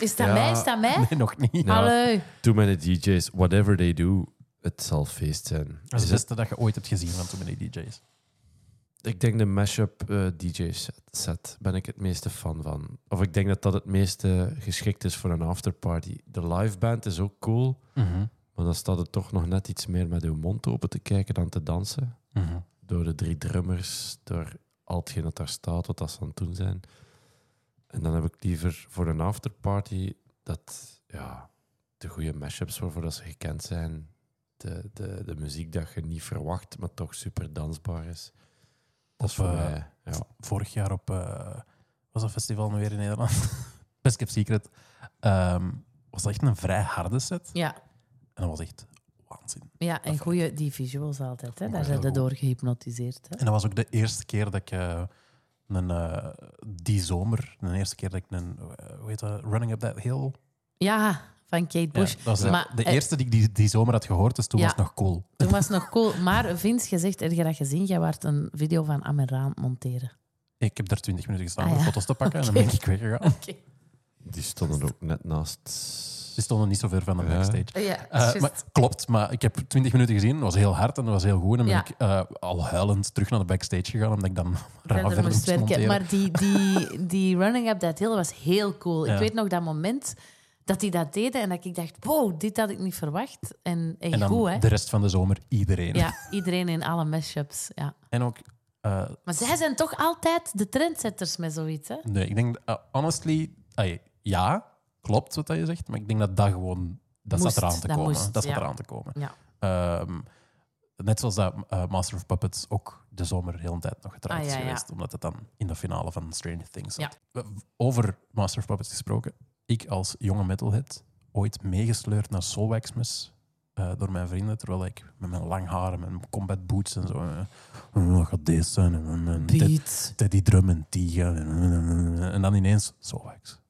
Speaker 1: Is dat
Speaker 3: Ja.
Speaker 1: mij? Is dat mij?
Speaker 2: Nee, nog niet.
Speaker 3: Ja.
Speaker 1: Hallo.
Speaker 3: Too many DJs, whatever they do, het zal feest zijn.
Speaker 2: Dat is
Speaker 3: Is
Speaker 2: het beste dat je ooit hebt gezien van Too Many DJ's.
Speaker 3: het- ik denk de mashup eh DJ set, set ben ik het meeste fan van. Of ik denk dat dat het meeste geschikt is voor een afterparty. De live band is ook cool,
Speaker 1: Mhm.
Speaker 3: maar dan staat het toch nog net iets meer met uw mond open te kijken dan te dansen.
Speaker 2: Mhm.
Speaker 3: Door de drie drummers, door al hetgeen dat daar staat, wat dat ze aan het doen zijn. En dan heb ik liever voor een afterparty dat ja, de goede mashups waarvoor dat ze gekend zijn. De, de, de muziek dat je niet verwacht, maar toch super dansbaar is. Dat is
Speaker 2: Of,
Speaker 3: voor
Speaker 2: eh,
Speaker 3: mij. Ja.
Speaker 2: vorig jaar op... eh, was dat festival nu weer in Nederland? <laughs> Best Kept Secret. Ehm, was dat echt een vrij harde set.
Speaker 1: Ja.
Speaker 2: En dat was echt waanzin.
Speaker 1: Ja, en goede die visuals altijd. Hè? Daar
Speaker 2: heel
Speaker 1: zijn ze
Speaker 2: goed.
Speaker 1: door gehypnotiseerd. Hè?
Speaker 2: En dat was ook de eerste keer dat ik... eh, een, eh, die zomer, de eerste keer dat ik een... eh, hoe heet dat? Running Up That Hill...
Speaker 1: Ja, van Kate
Speaker 2: Ja,
Speaker 1: Bush.
Speaker 2: dat was de-
Speaker 1: Maar,
Speaker 2: de
Speaker 1: eh,
Speaker 2: eerste die ik die, die zomer had gehoord, dus toen
Speaker 1: Ja.
Speaker 2: was het nog cool.
Speaker 1: Toen was het nog cool. Maar Vince, je zegt, heb je dat gezien? Jij waart een video van Ameraan monteren.
Speaker 2: Ik heb daar twintig minuten gestaan
Speaker 1: Ah,
Speaker 2: om
Speaker 1: ja.
Speaker 2: foto's te
Speaker 1: <laughs>
Speaker 2: pakken en
Speaker 1: Oké.
Speaker 2: dan ben ik weggegaan.
Speaker 3: Die stonden ook net naast.
Speaker 2: Ze stonden niet zo ver van de
Speaker 3: Ja.
Speaker 2: backstage.
Speaker 1: Ja,
Speaker 2: Eh, maar, klopt, maar ik heb twintig minuten gezien. Het was heel hard en dat was heel goed. En dan
Speaker 1: Ja.
Speaker 2: ben ik eh, al huilend terug naar de backstage gegaan, omdat ik <laughs> dan raar
Speaker 1: verder
Speaker 2: verder
Speaker 1: moest
Speaker 2: moest
Speaker 1: werken.
Speaker 2: monteren.
Speaker 1: Maar die, die, die Running Up That Hill was heel cool.
Speaker 2: Ja.
Speaker 1: Ik weet nog dat moment dat die dat deden en dat ik dacht, wow, dit had ik niet verwacht. En echt
Speaker 2: en dan
Speaker 1: goed, hè?
Speaker 2: de rest van de zomer iedereen.
Speaker 1: Ja, iedereen in alle mashups. Ja.
Speaker 2: En ook... eh,
Speaker 1: Maar zij zijn toch altijd de trendsetters met zoiets, hè?
Speaker 2: nee, ik denk... eh, honestly... ai, ja, klopt wat dat je zegt, maar ik denk dat dat gewoon... Dat
Speaker 1: Moest,
Speaker 2: zat eraan te
Speaker 1: dat
Speaker 2: komen.
Speaker 1: moest,
Speaker 2: dat zat
Speaker 1: ja.
Speaker 2: eraan te komen.
Speaker 1: Ja.
Speaker 2: Ehm, net zoals dat eh, Master of Puppets ook de zomer heel een tijd nog gedraaid
Speaker 1: Ah, ja,
Speaker 2: is
Speaker 1: ja.
Speaker 2: geweest. Omdat het dan in de finale van Stranger Things
Speaker 1: Ja.
Speaker 2: zat. Over Master of Puppets gesproken. Ik als jonge metalhead ooit meegesleurd naar Solwaxmus eh door mijn vrienden. Terwijl ik met mijn lang haar en mijn combat boots en zo... eh, "Oh, wat gaat deze zijn? En, en, en, Ted-
Speaker 1: Beat.
Speaker 2: Teddy Drum en Tiga. En, en, en, en, en dan ineens Solwax.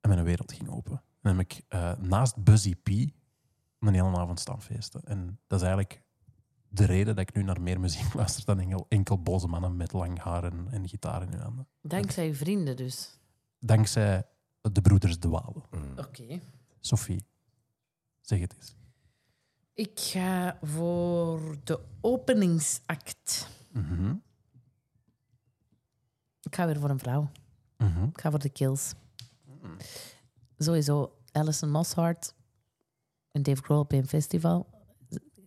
Speaker 2: En mijn wereld ging open. En dan heb ik eh, naast Buzzy P een hele avond staan feesten. En dat is eigenlijk de reden dat ik nu naar meer muziek <laughs> luister dan enkel, enkel boze mannen met lang haar en, en gitaar in hun handen.
Speaker 1: Dankzij je vrienden dus.
Speaker 2: Dankzij de broeders De Walen.
Speaker 1: Oké.
Speaker 2: Sophie, zeg het eens.
Speaker 1: Ik ga voor de openingsact.
Speaker 2: Mhm,
Speaker 1: Ik ga weer voor een vrouw.
Speaker 2: mhm.
Speaker 1: Ik ga voor de kills. Sowieso Alison Mosshart en Dave Grohl op een festival.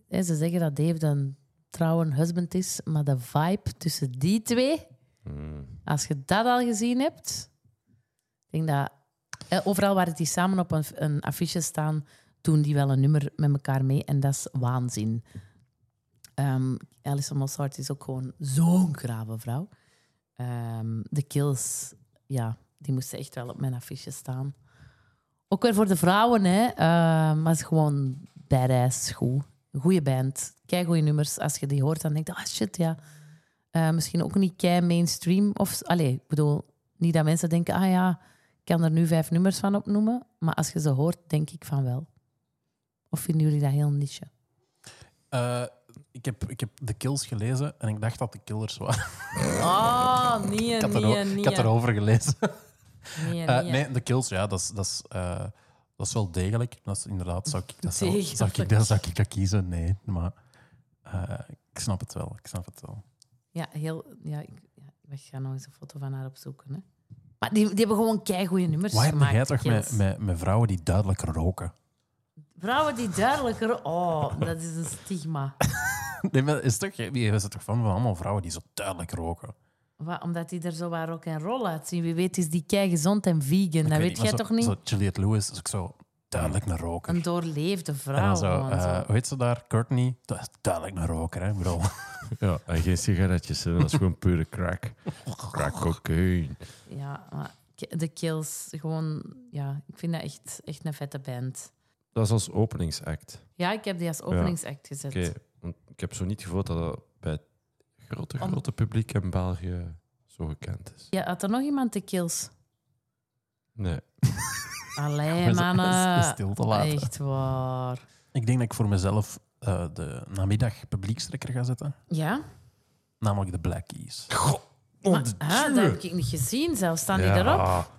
Speaker 1: En ze zeggen dat Dave een trouwe husband is, maar de vibe tussen die twee, als je dat al gezien hebt, ik denk dat eh, overal waar die samen op een, een affiche staan, doen die wel een nummer met elkaar mee en dat is waanzin. Ehm Alison Mosshart is ook gewoon zo'n grave vrouw. Ehm, de kills ja, die moesten echt wel op mijn affiche staan. Ook weer voor de vrouwen, hè. Eh, maar het is gewoon badass, goed. Goeie band. Kei goede nummers. Als je die hoort, dan denk je, ah shit, ja. Eh, misschien ook niet kei mainstream. Of, allee, ik bedoel, niet dat mensen denken, ah ja, ik kan er nu vijf nummers van opnoemen. Maar als je ze hoort, denk ik van wel. Of vinden jullie dat heel niche?
Speaker 2: Eh, ik, heb, ik heb de kills gelezen en ik dacht dat de killers waren.
Speaker 1: Oh, nee,
Speaker 2: <laughs> ik, had er-
Speaker 1: nee,
Speaker 2: ik had erover gelezen.
Speaker 1: nee.
Speaker 2: Eh, nee, de kills, ja, dat is, dat is, eh, dat is wel degelijk. Dat is inderdaad, zou ik dat, zelf, zou ik, dat, zou ik dat kiezen? Nee, maar eh, ik snap het wel. Ik snap het wel.
Speaker 1: Ja, heel. Ja, ik, ja, ik ga nog eens een foto van haar opzoeken. Hè. Maar die, die hebben gewoon keigoede nummers
Speaker 2: Waar heb
Speaker 1: gemaakt.
Speaker 2: jij
Speaker 1: Dus
Speaker 2: toch
Speaker 1: de
Speaker 2: met,
Speaker 1: kids.
Speaker 2: met, met vrouwen die duidelijk roken? <laughs>
Speaker 1: Vrouwen die duidelijker. Oh, dat is een stigma.
Speaker 2: Nee, maar is toch, je is er toch van, van allemaal vrouwen die zo duidelijk roken?
Speaker 1: Wa- Omdat die er zo waar rock en roll uitzien. Wie weet is die kei gezond en vegan.
Speaker 2: Ik
Speaker 1: dat
Speaker 2: weet
Speaker 1: Nou, weet jij
Speaker 2: maar
Speaker 1: toch
Speaker 2: zo-
Speaker 1: niet?
Speaker 2: Zo Juliette Lewis is ook zo duidelijk een roker.
Speaker 1: Een doorleefde vrouw.
Speaker 2: en dan zo,
Speaker 1: gewoon, zo.
Speaker 2: eh, hoe heet ze daar? Courtney, dat is duidelijk een roker, hè? Ik bedoel,
Speaker 3: Ja, en geen sigaretjes, hè. dat is gewoon pure <laughs> crack. Crack cocaine.
Speaker 1: Ja, maar K- de Kills, gewoon. Ja, ik vind dat echt, echt een vette band.
Speaker 3: Dat is als openingsact.
Speaker 1: Ja, ik heb die als openingsact gezet.
Speaker 3: Oké, want ik heb zo niet gevoeld dat dat bij het grote,
Speaker 1: Om-
Speaker 3: grote publiek in België zo gekend is.
Speaker 1: Ja, had er nog iemand de Kills?
Speaker 3: Nee.
Speaker 2: <laughs>
Speaker 1: Allee,
Speaker 2: is
Speaker 1: mannen.
Speaker 2: stil te laten.
Speaker 1: Echt waar.
Speaker 2: <laughs> Ik denk dat ik voor mezelf eh, de namiddag publiekstrekker ga zetten.
Speaker 1: Ja?
Speaker 2: Namelijk de Black Keys.
Speaker 1: Ah, dat heb ik niet gezien zelfs. Staan die
Speaker 3: Ja.
Speaker 1: erop?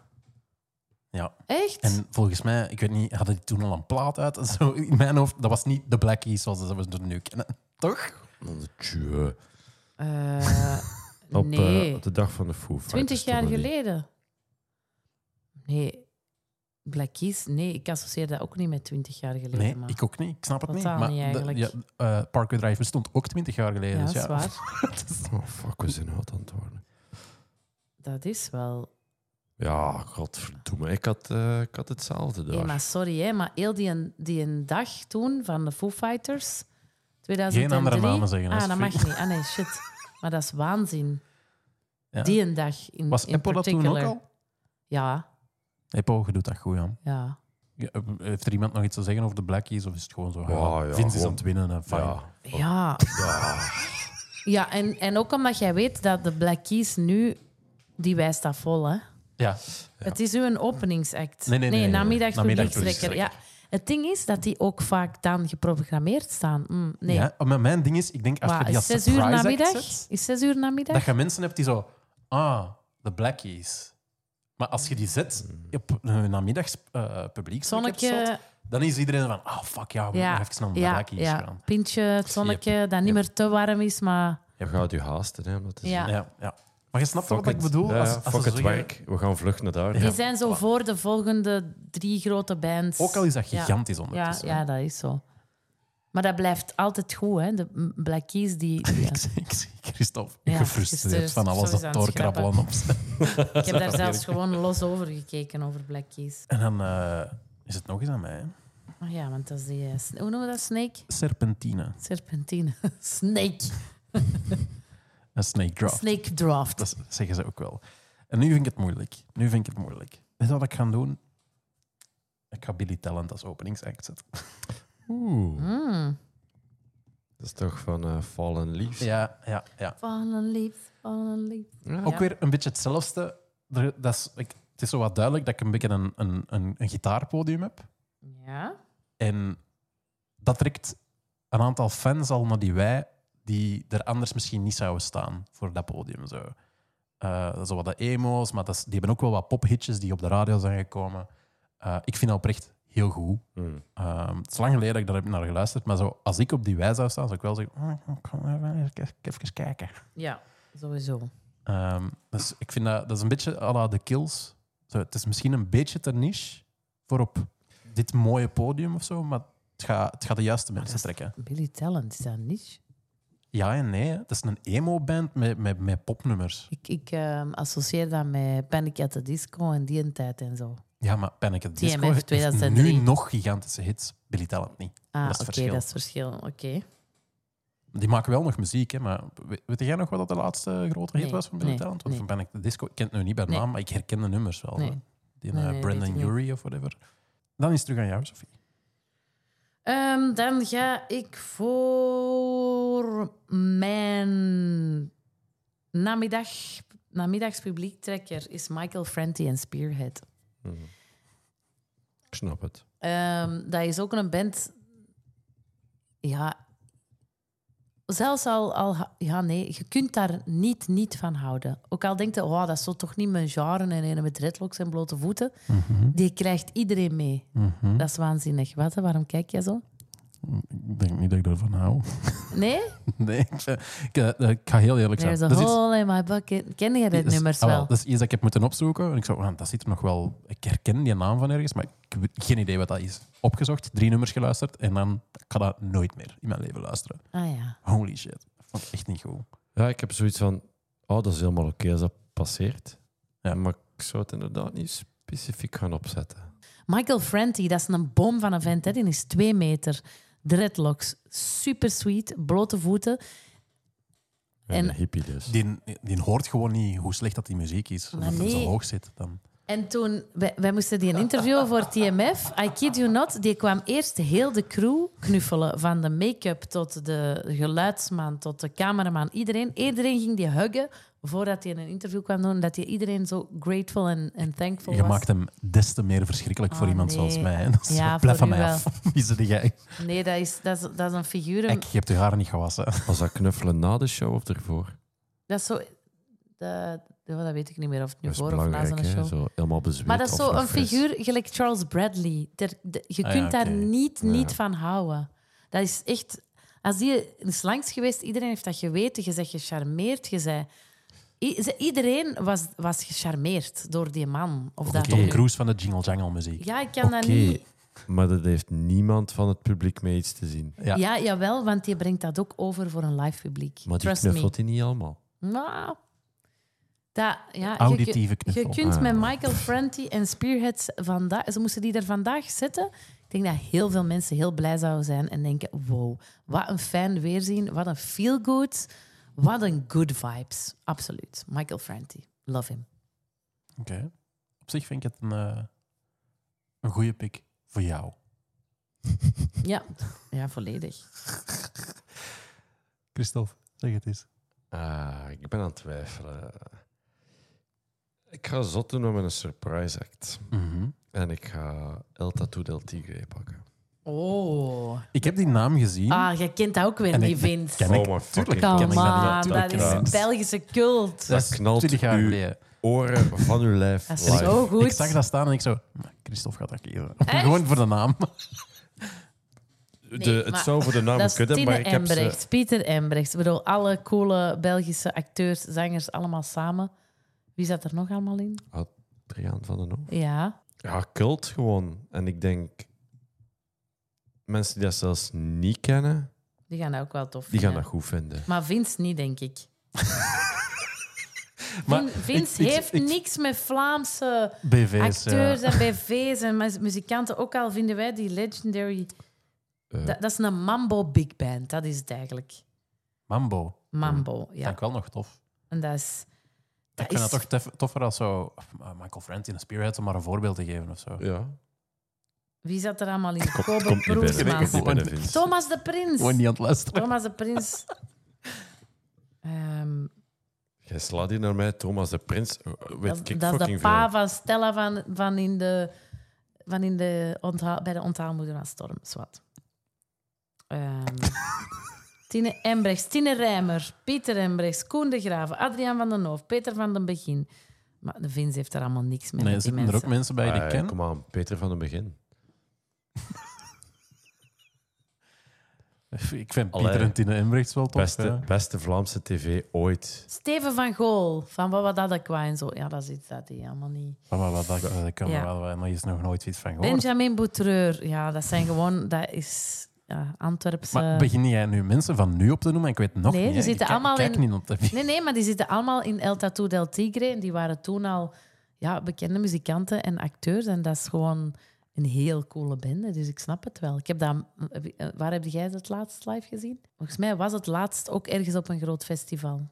Speaker 2: Ja.
Speaker 1: Echt?
Speaker 2: En volgens mij, ik weet niet, hadden die toen al een plaat uit? <laughs> en Zo, in mijn hoofd, dat was niet de Black Keys zoals dat we ze nu kennen. Toch?
Speaker 3: Tjue.
Speaker 1: Eh,
Speaker 2: <laughs>
Speaker 3: Op eh,
Speaker 1: nee.
Speaker 3: op de dag van de Foo
Speaker 1: Twintig jaar
Speaker 3: geleden.
Speaker 1: geleden. Nee. Black Keys? Nee, ik associeer dat ook niet met twintig jaar geleden.
Speaker 2: Nee,
Speaker 1: maar.
Speaker 2: ik ook niet. Ik snap het
Speaker 1: Totaal
Speaker 2: niet. Maar
Speaker 1: niet eigenlijk.
Speaker 2: de- ja, eh, Parkway Drive bestond ook twintig jaar geleden.
Speaker 1: Ja,
Speaker 2: dus
Speaker 1: dat is waar.
Speaker 2: <laughs>
Speaker 3: Oh, fuck, we zijn oud aan het worden.
Speaker 1: Dat is wel...
Speaker 3: Ja, godverdomme. Ik had, eh, ik had hetzelfde daar.
Speaker 1: Hey, maar sorry, hè, maar heel die, een- die een dag toen van de Foo Fighters... 2003.
Speaker 2: Geen andere namen zeggen,
Speaker 1: Ah, dat
Speaker 2: alsjeblieft.
Speaker 1: mag niet. Ah, nee,
Speaker 2: <laughs>
Speaker 1: shit. Maar dat is waanzin.
Speaker 2: Ja.
Speaker 1: Die een dag in
Speaker 2: Was
Speaker 1: in
Speaker 2: Apple dat toen ook
Speaker 1: particular.
Speaker 2: al?
Speaker 1: Ja,
Speaker 2: Apple, je doet dat goed aan.
Speaker 1: ja.
Speaker 2: Ja, eh, heeft er iemand nog iets te zeggen over de Black Keys? Of is het gewoon zo?
Speaker 3: Ja, ja,
Speaker 2: Vince is aan
Speaker 3: gewoon-
Speaker 2: het winnen. En fijn.
Speaker 3: Ja.
Speaker 1: Ja. Ja, en, en ook omdat jij weet dat de Black Keys nu... Die wijst dat vol, hè?
Speaker 2: Ja.
Speaker 1: Het is u een openingsact.
Speaker 2: Nee, nee, nee, nee, nee.
Speaker 1: namiddag
Speaker 2: Namiddag
Speaker 1: publiekstrekker. Ja.
Speaker 2: publiekstrekker.
Speaker 1: Het ding is dat die ook vaak dan geprogrammeerd staan. Mm, nee.
Speaker 2: Ja, maar mijn ding is, ik denk als je
Speaker 1: Wat, is
Speaker 2: die als
Speaker 1: zes uur
Speaker 2: surprise act
Speaker 1: namiddag?
Speaker 2: zet,
Speaker 1: Is zes uur namiddag?
Speaker 2: dat je mensen hebt die zo, ah, de Black Keys. Maar als je die zet op een namiddags eh, publiek,
Speaker 1: Zonnetje.
Speaker 2: dan is iedereen van, ah, fuck ja, Oh, we moeten
Speaker 1: Ja,
Speaker 2: nog even naar de
Speaker 1: ja,
Speaker 2: Black Keys
Speaker 1: ja.
Speaker 2: gaan.
Speaker 1: Pintje, het zonnetje, dat niet meer te warm is, maar...
Speaker 3: Je gaat je haasten, hè. omdat het is-
Speaker 1: Ja.
Speaker 2: Ja, ja. Maar je snapt
Speaker 3: Fuck
Speaker 2: wat ik
Speaker 3: it.
Speaker 2: bedoel?
Speaker 3: Ja,
Speaker 2: Als-
Speaker 3: ja,
Speaker 2: als
Speaker 3: fuck
Speaker 2: ze
Speaker 3: het
Speaker 2: zeggen-
Speaker 3: werk. We gaan vluchten naar daar.
Speaker 1: Die zijn zo voor de volgende drie grote bands.
Speaker 2: Ook al is dat
Speaker 1: Ja.
Speaker 2: gigantisch
Speaker 1: Ja,
Speaker 2: ondertussen.
Speaker 1: ja, dat is zo. Maar dat blijft altijd goed, hè? De m- Black Keys die. die-
Speaker 2: <laughs> Ik zie- Ik zie <laughs> Christophe
Speaker 1: Ja,
Speaker 2: gefrustreerd
Speaker 1: gefrustreerd.
Speaker 2: van alles
Speaker 1: Sorry, ze
Speaker 2: dat
Speaker 1: aan het
Speaker 2: doorkrabbelen op zijn.
Speaker 1: <laughs> ik heb
Speaker 2: <laughs>
Speaker 1: daar zelfs gewoon los over gekeken, over Black Keys.
Speaker 2: En dan eh, is het nog eens aan mij. hè.
Speaker 1: Oh ja, want dat is die. eh, sn- hoe noemen we dat? Snake?
Speaker 2: Serpentine.
Speaker 1: Serpentine. <laughs> Snake.
Speaker 2: Een snake draft.
Speaker 1: Snake draft.
Speaker 2: Dat zeggen ze ook wel. En nu vind ik het moeilijk. Nu vind ik het moeilijk. Weet je wat ik ga doen? Ik ga Billy Talent als openingsact zetten.
Speaker 3: Oeh.
Speaker 1: Mm.
Speaker 3: Dat is toch van eh, Fallen Leaves?
Speaker 2: Ja, ja, ja.
Speaker 1: Fallen leaves, fallen leaves.
Speaker 3: Ja.
Speaker 2: Ook weer een beetje hetzelfde. Er- Dat is, ik, het is zo wat duidelijk dat ik een beetje een, een, een, een gitaarpodium heb.
Speaker 1: Ja.
Speaker 2: En dat trekt een aantal fans al naar die wij, die er anders misschien niet zouden staan voor dat podium. Zo, Eh, dat is zo wat de emo's, maar dat is- die hebben ook wel wat pophitjes die op de radio zijn gekomen. Eh, ik vind dat oprecht heel goed.
Speaker 3: Hmm.
Speaker 2: Ehm, het is lang geleden dat ik daar heb naar geluisterd, maar zo, als ik op die wij zou staan, zou ik wel zeggen: "Oh, ik ga even, even- even kijken.
Speaker 1: Ja, sowieso.
Speaker 2: Ehm, dus ik vind dat, dat is een beetje à la The Kills. Zo, het is misschien een beetje te niche voor op dit mooie podium of zo, maar het gaat het gaat de juiste mensen trekken.
Speaker 1: Billy Talent, is dat niet?
Speaker 2: Ja en nee. hè. Het is een emo-band met, met, met popnummers.
Speaker 1: Ik, ik ehm, associeer dat met Panic at the Disco en die een tijd en zo.
Speaker 2: Ja, maar Panic at the Disco
Speaker 1: TMF
Speaker 2: heeft
Speaker 1: 2003.
Speaker 2: nu nog gigantische hits. Billy Talent niet.
Speaker 1: Ah,
Speaker 2: Dat is het
Speaker 1: oké,
Speaker 2: verschil.
Speaker 1: dat is het verschil. Oké.
Speaker 2: Die maken wel nog muziek, hè, maar we- weet jij nog wat dat de laatste grote hit
Speaker 1: Nee,
Speaker 2: was van Billy
Speaker 1: nee,
Speaker 2: Talent? Want
Speaker 1: nee.
Speaker 2: van Panic at the Disco, ik ken het nu niet bij
Speaker 1: Nee.
Speaker 2: naam, maar ik herken de nummers wel.
Speaker 1: Nee.
Speaker 2: hè. Die
Speaker 1: Nee,
Speaker 2: eh,
Speaker 1: nee, weet
Speaker 2: Brandon
Speaker 1: ik niet.
Speaker 2: Urie of whatever. Dan is het terug aan jou, Sophie.
Speaker 1: Ehm, dan ga ik voor mijn namiddag, namiddagspubliektrekker is Michael Franti en Spearhead.
Speaker 3: mm. Ik snap het.
Speaker 1: Ehm, dat is ook een band. Ja. Zelfs al, al. Ja, nee, je kunt daar niet, niet van houden. Ook al denkt je, oh, dat is zo toch niet mijn genre en ene met dreadlocks en blote voeten. Die krijgt iedereen mee.
Speaker 2: Hm? Mhm.
Speaker 1: Dat is waanzinnig. Wat, hè? waarom kijk jij zo?
Speaker 2: Ik denk niet dat ik daarvan hou. <laughs>
Speaker 1: Nee?
Speaker 2: Nee, ik, ik, eh, ik ga heel eerlijk zijn.
Speaker 1: There's a
Speaker 2: Dat is Dus iets-
Speaker 1: hole in my bucket. Ken jij dit
Speaker 2: dat is-
Speaker 1: nummers
Speaker 2: ah,
Speaker 1: wel?
Speaker 2: Dat is iets dat ik heb moeten opzoeken. En ik zo, ah, dat zit er nog wel... Ik herken die naam van ergens, maar ik heb geen idee wat dat is. Opgezocht, drie nummers geluisterd en dan ik ga dat nooit meer in mijn leven luisteren.
Speaker 1: Ah ja.
Speaker 2: Holy shit. Dat vond ik echt niet goed.
Speaker 3: Ja, ik heb zoiets van, oh, dat is helemaal oké als dat passeert.
Speaker 2: Ja.
Speaker 3: Maar ik zou het inderdaad niet specifiek gaan opzetten.
Speaker 1: Michael Franti, dat is een boom van een vent. Hè. Die is twee meter. Dreadlocks. Super sweet. Blote voeten. En-
Speaker 3: En een hippie dus.
Speaker 2: Die, die hoort gewoon niet hoe slecht dat die muziek is.
Speaker 1: Maar
Speaker 2: Omdat het
Speaker 1: nee.
Speaker 2: zo hoog zit. Dan.
Speaker 1: En toen, wij, wij moesten die interviewen <laughs> voor TMF. I kid you not, die kwam eerst heel de crew knuffelen. Van de make-up tot de geluidsman, tot de cameraman, iedereen. Iedereen ging die huggen voordat hij een interview kwam doen. Dat hij iedereen zo grateful en, en thankful
Speaker 2: Je
Speaker 1: was.
Speaker 2: maakt hem des te meer verschrikkelijk voor
Speaker 1: Ah,
Speaker 2: iemand
Speaker 1: nee.
Speaker 2: zoals mij. hè. <laughs> Dat is
Speaker 1: Ja,
Speaker 2: zo, blijf
Speaker 1: voor
Speaker 2: van
Speaker 1: u
Speaker 2: mij
Speaker 1: wel.
Speaker 2: af. <laughs> Wie zit jij?
Speaker 1: Nee, dat is, dat is, dat is een figuur.
Speaker 2: Ik, je hebt je haar niet gewassen.
Speaker 3: Was dat knuffelen na de show of ervoor?
Speaker 1: Dat is zo... Dat, ja, dat weet ik niet meer of het nu
Speaker 3: Dat is
Speaker 1: voor of na
Speaker 3: belangrijk,
Speaker 1: zo'n
Speaker 3: hè?
Speaker 1: show.
Speaker 3: Zo helemaal bezweet.
Speaker 1: Maar dat is
Speaker 3: of
Speaker 1: zo
Speaker 3: nog
Speaker 1: een
Speaker 3: fris.
Speaker 1: figuur, gelijk Charles Bradley. Ter- de- je
Speaker 2: Ah
Speaker 1: kunt
Speaker 2: ja,
Speaker 1: daar
Speaker 2: oké.
Speaker 1: niet,
Speaker 3: Ja.
Speaker 1: niet van houden. Dat is echt... Als die is langs geweest, iedereen heeft dat geweten. Je bent gecharmeerd, je zei... Iedereen was, was gecharmeerd door die man. Of dat
Speaker 2: Tom Cruise van de Jingle Jangle muziek.
Speaker 1: Ja, ik kan dat
Speaker 3: Oké.
Speaker 1: niet...
Speaker 3: Maar dat heeft niemand van het publiek mee iets te zien.
Speaker 2: Ja.
Speaker 1: Ja. jawel, want die brengt dat ook over voor een live publiek.
Speaker 3: Maar die
Speaker 1: Trust me.
Speaker 3: knuffelt hij niet allemaal.
Speaker 1: Nou, dat, ja,
Speaker 2: Auditieve
Speaker 1: je, kun-
Speaker 2: knuffel.
Speaker 1: Je kunt
Speaker 3: Ah.
Speaker 1: met Michael Franti en Spearheads vandaag... Ze moesten die er vandaag zetten. Ik denk dat heel veel mensen heel blij zouden zijn en denken... Wow, wat een fijn weerzien. Wat een feel-good. Wat een good vibes. Absoluut. Michael Franti. Love him.
Speaker 2: Oké. Op zich vind ik het een, eh, een goede pick voor jou.
Speaker 1: Ja, ja volledig.
Speaker 2: <laughs> Christophe, zeg het eens.
Speaker 3: Ah, ik ben aan het twijfelen. Ik ga zot doen met een surprise act.
Speaker 2: Mhm.
Speaker 3: En ik ga El Tattoo del Tigre pakken.
Speaker 1: Oh.
Speaker 2: Ik heb die naam gezien.
Speaker 1: Ah, jij kent dat ook weer
Speaker 2: En ik-
Speaker 1: niet, Vince.
Speaker 2: Ken ik-
Speaker 3: my
Speaker 1: Come
Speaker 2: tuurlijk ken
Speaker 1: on,
Speaker 2: ik dat niet.
Speaker 1: dat,
Speaker 2: Tuurlijk
Speaker 1: is
Speaker 2: ken ik dat.
Speaker 1: Belgische cult.
Speaker 3: Dat knalt
Speaker 2: 20 jaar
Speaker 3: u
Speaker 2: geleden.
Speaker 3: Oren van uw lijf.
Speaker 1: Dat is
Speaker 3: live.
Speaker 1: zo goed.
Speaker 2: Ik zag dat staan en ik zo... "Maar Christophe gaat dat kiezen.
Speaker 1: Echt?
Speaker 2: Gewoon voor de naam. <laughs>
Speaker 3: De,
Speaker 1: Nee,
Speaker 3: het
Speaker 1: maar-
Speaker 3: zou voor de naam
Speaker 1: Dat is
Speaker 3: kunnen,
Speaker 1: Tine
Speaker 3: maar ik heb ze...
Speaker 1: Embrecht, Pieter Embrecht. Ik bedoel, alle coole Belgische acteurs, zangers, allemaal samen. Wie zat er nog allemaal in?
Speaker 3: Adriaan van den Hoofd.
Speaker 1: Ja.
Speaker 3: Ja, cult gewoon. En ik denk... Mensen die dat zelfs niet kennen,
Speaker 1: Die gaan dat ook wel tof
Speaker 3: die gaan dat
Speaker 1: vinden.
Speaker 3: goed vinden.
Speaker 1: Maar Vince niet, denk ik.
Speaker 2: Maar
Speaker 1: Vin- Vince
Speaker 2: ik- ik-
Speaker 1: heeft
Speaker 2: ik-
Speaker 1: niks met Vlaamse
Speaker 2: BV's.
Speaker 1: acteurs
Speaker 2: ja.
Speaker 1: en BV's en mu- muzikanten. Ook al vinden wij die legendary...
Speaker 3: Eh.
Speaker 1: Dat, dat is een mambo big band, dat is het eigenlijk.
Speaker 2: Mambo.
Speaker 1: Mambo,
Speaker 2: Vind
Speaker 1: ja.
Speaker 2: ik wel nog tof.
Speaker 1: En dat is... Dat
Speaker 2: ik vind
Speaker 1: is
Speaker 2: dat toch tef- toffer als zo... eh, Michael Franti en Spearhead, om maar een voorbeeld te geven of zo.
Speaker 3: Ja.
Speaker 1: Wie zat er allemaal in? Kobe
Speaker 3: Komt niet binnen.
Speaker 1: Broersma.
Speaker 3: Komt niet binnen, Vince.
Speaker 1: Thomas de Prins.
Speaker 2: Gewoon niet aan het luisteren.
Speaker 1: Thomas de Prins. Ehm,
Speaker 3: Jij slaat die naar mij, Thomas de Prins. eh, Weet
Speaker 1: dat
Speaker 3: ik
Speaker 1: dat is de
Speaker 3: fucking
Speaker 1: pa
Speaker 3: veel.
Speaker 1: van Stella van, van in de, van in de onthaal, bij de onthaalmoeder van Storm. Zwat.
Speaker 2: <laughs>
Speaker 1: Ehm, Tine Embrechts, Tine Rijmer, Pieter Embrechts, Koen de Graven, Adriaan van den Hoof, Peter van den Begin. Maar de Vins heeft daar allemaal niks mee.
Speaker 2: Nee,
Speaker 1: met die
Speaker 2: zitten er ook
Speaker 1: mensen.
Speaker 2: mensen bij die ik
Speaker 3: Ah,
Speaker 2: ken?
Speaker 3: Kom aan, Peter van het begin.
Speaker 2: Ik vind
Speaker 3: Allee.
Speaker 2: Pieter en Tine Embrechts wel tof.
Speaker 3: Beste,
Speaker 2: ja.
Speaker 3: beste Vlaamse tv ooit.
Speaker 1: Steven van Gool, van wat dat ik en zo. Ja, dat is iets dat hij allemaal niet.
Speaker 2: Maar wat, dat, dat kan
Speaker 1: Ja.
Speaker 2: wel, maar hier is nog nooit iets van gehoord.
Speaker 1: Benjamin Boutreur, ja, dat zijn gewoon, dat is ja, Antwerpse.
Speaker 2: Maar begin jij nu mensen van nu op te noemen? Ik weet het nog
Speaker 1: Nee,
Speaker 2: niet.
Speaker 1: die
Speaker 2: hè. Ik
Speaker 1: zitten
Speaker 2: kijk- ik
Speaker 1: allemaal
Speaker 2: kijk
Speaker 1: in-
Speaker 2: niet op tv.
Speaker 1: Nee, nee, maar die zitten allemaal in El Tattoo del Tigre. En die waren toen al ja, bekende muzikanten en acteurs. En dat is gewoon een heel coole bende. Dus ik snap het wel. Ik heb dat, heb je- eh, waar heb jij dat laatst live gezien? Volgens mij was het laatst ook ergens op een groot festival.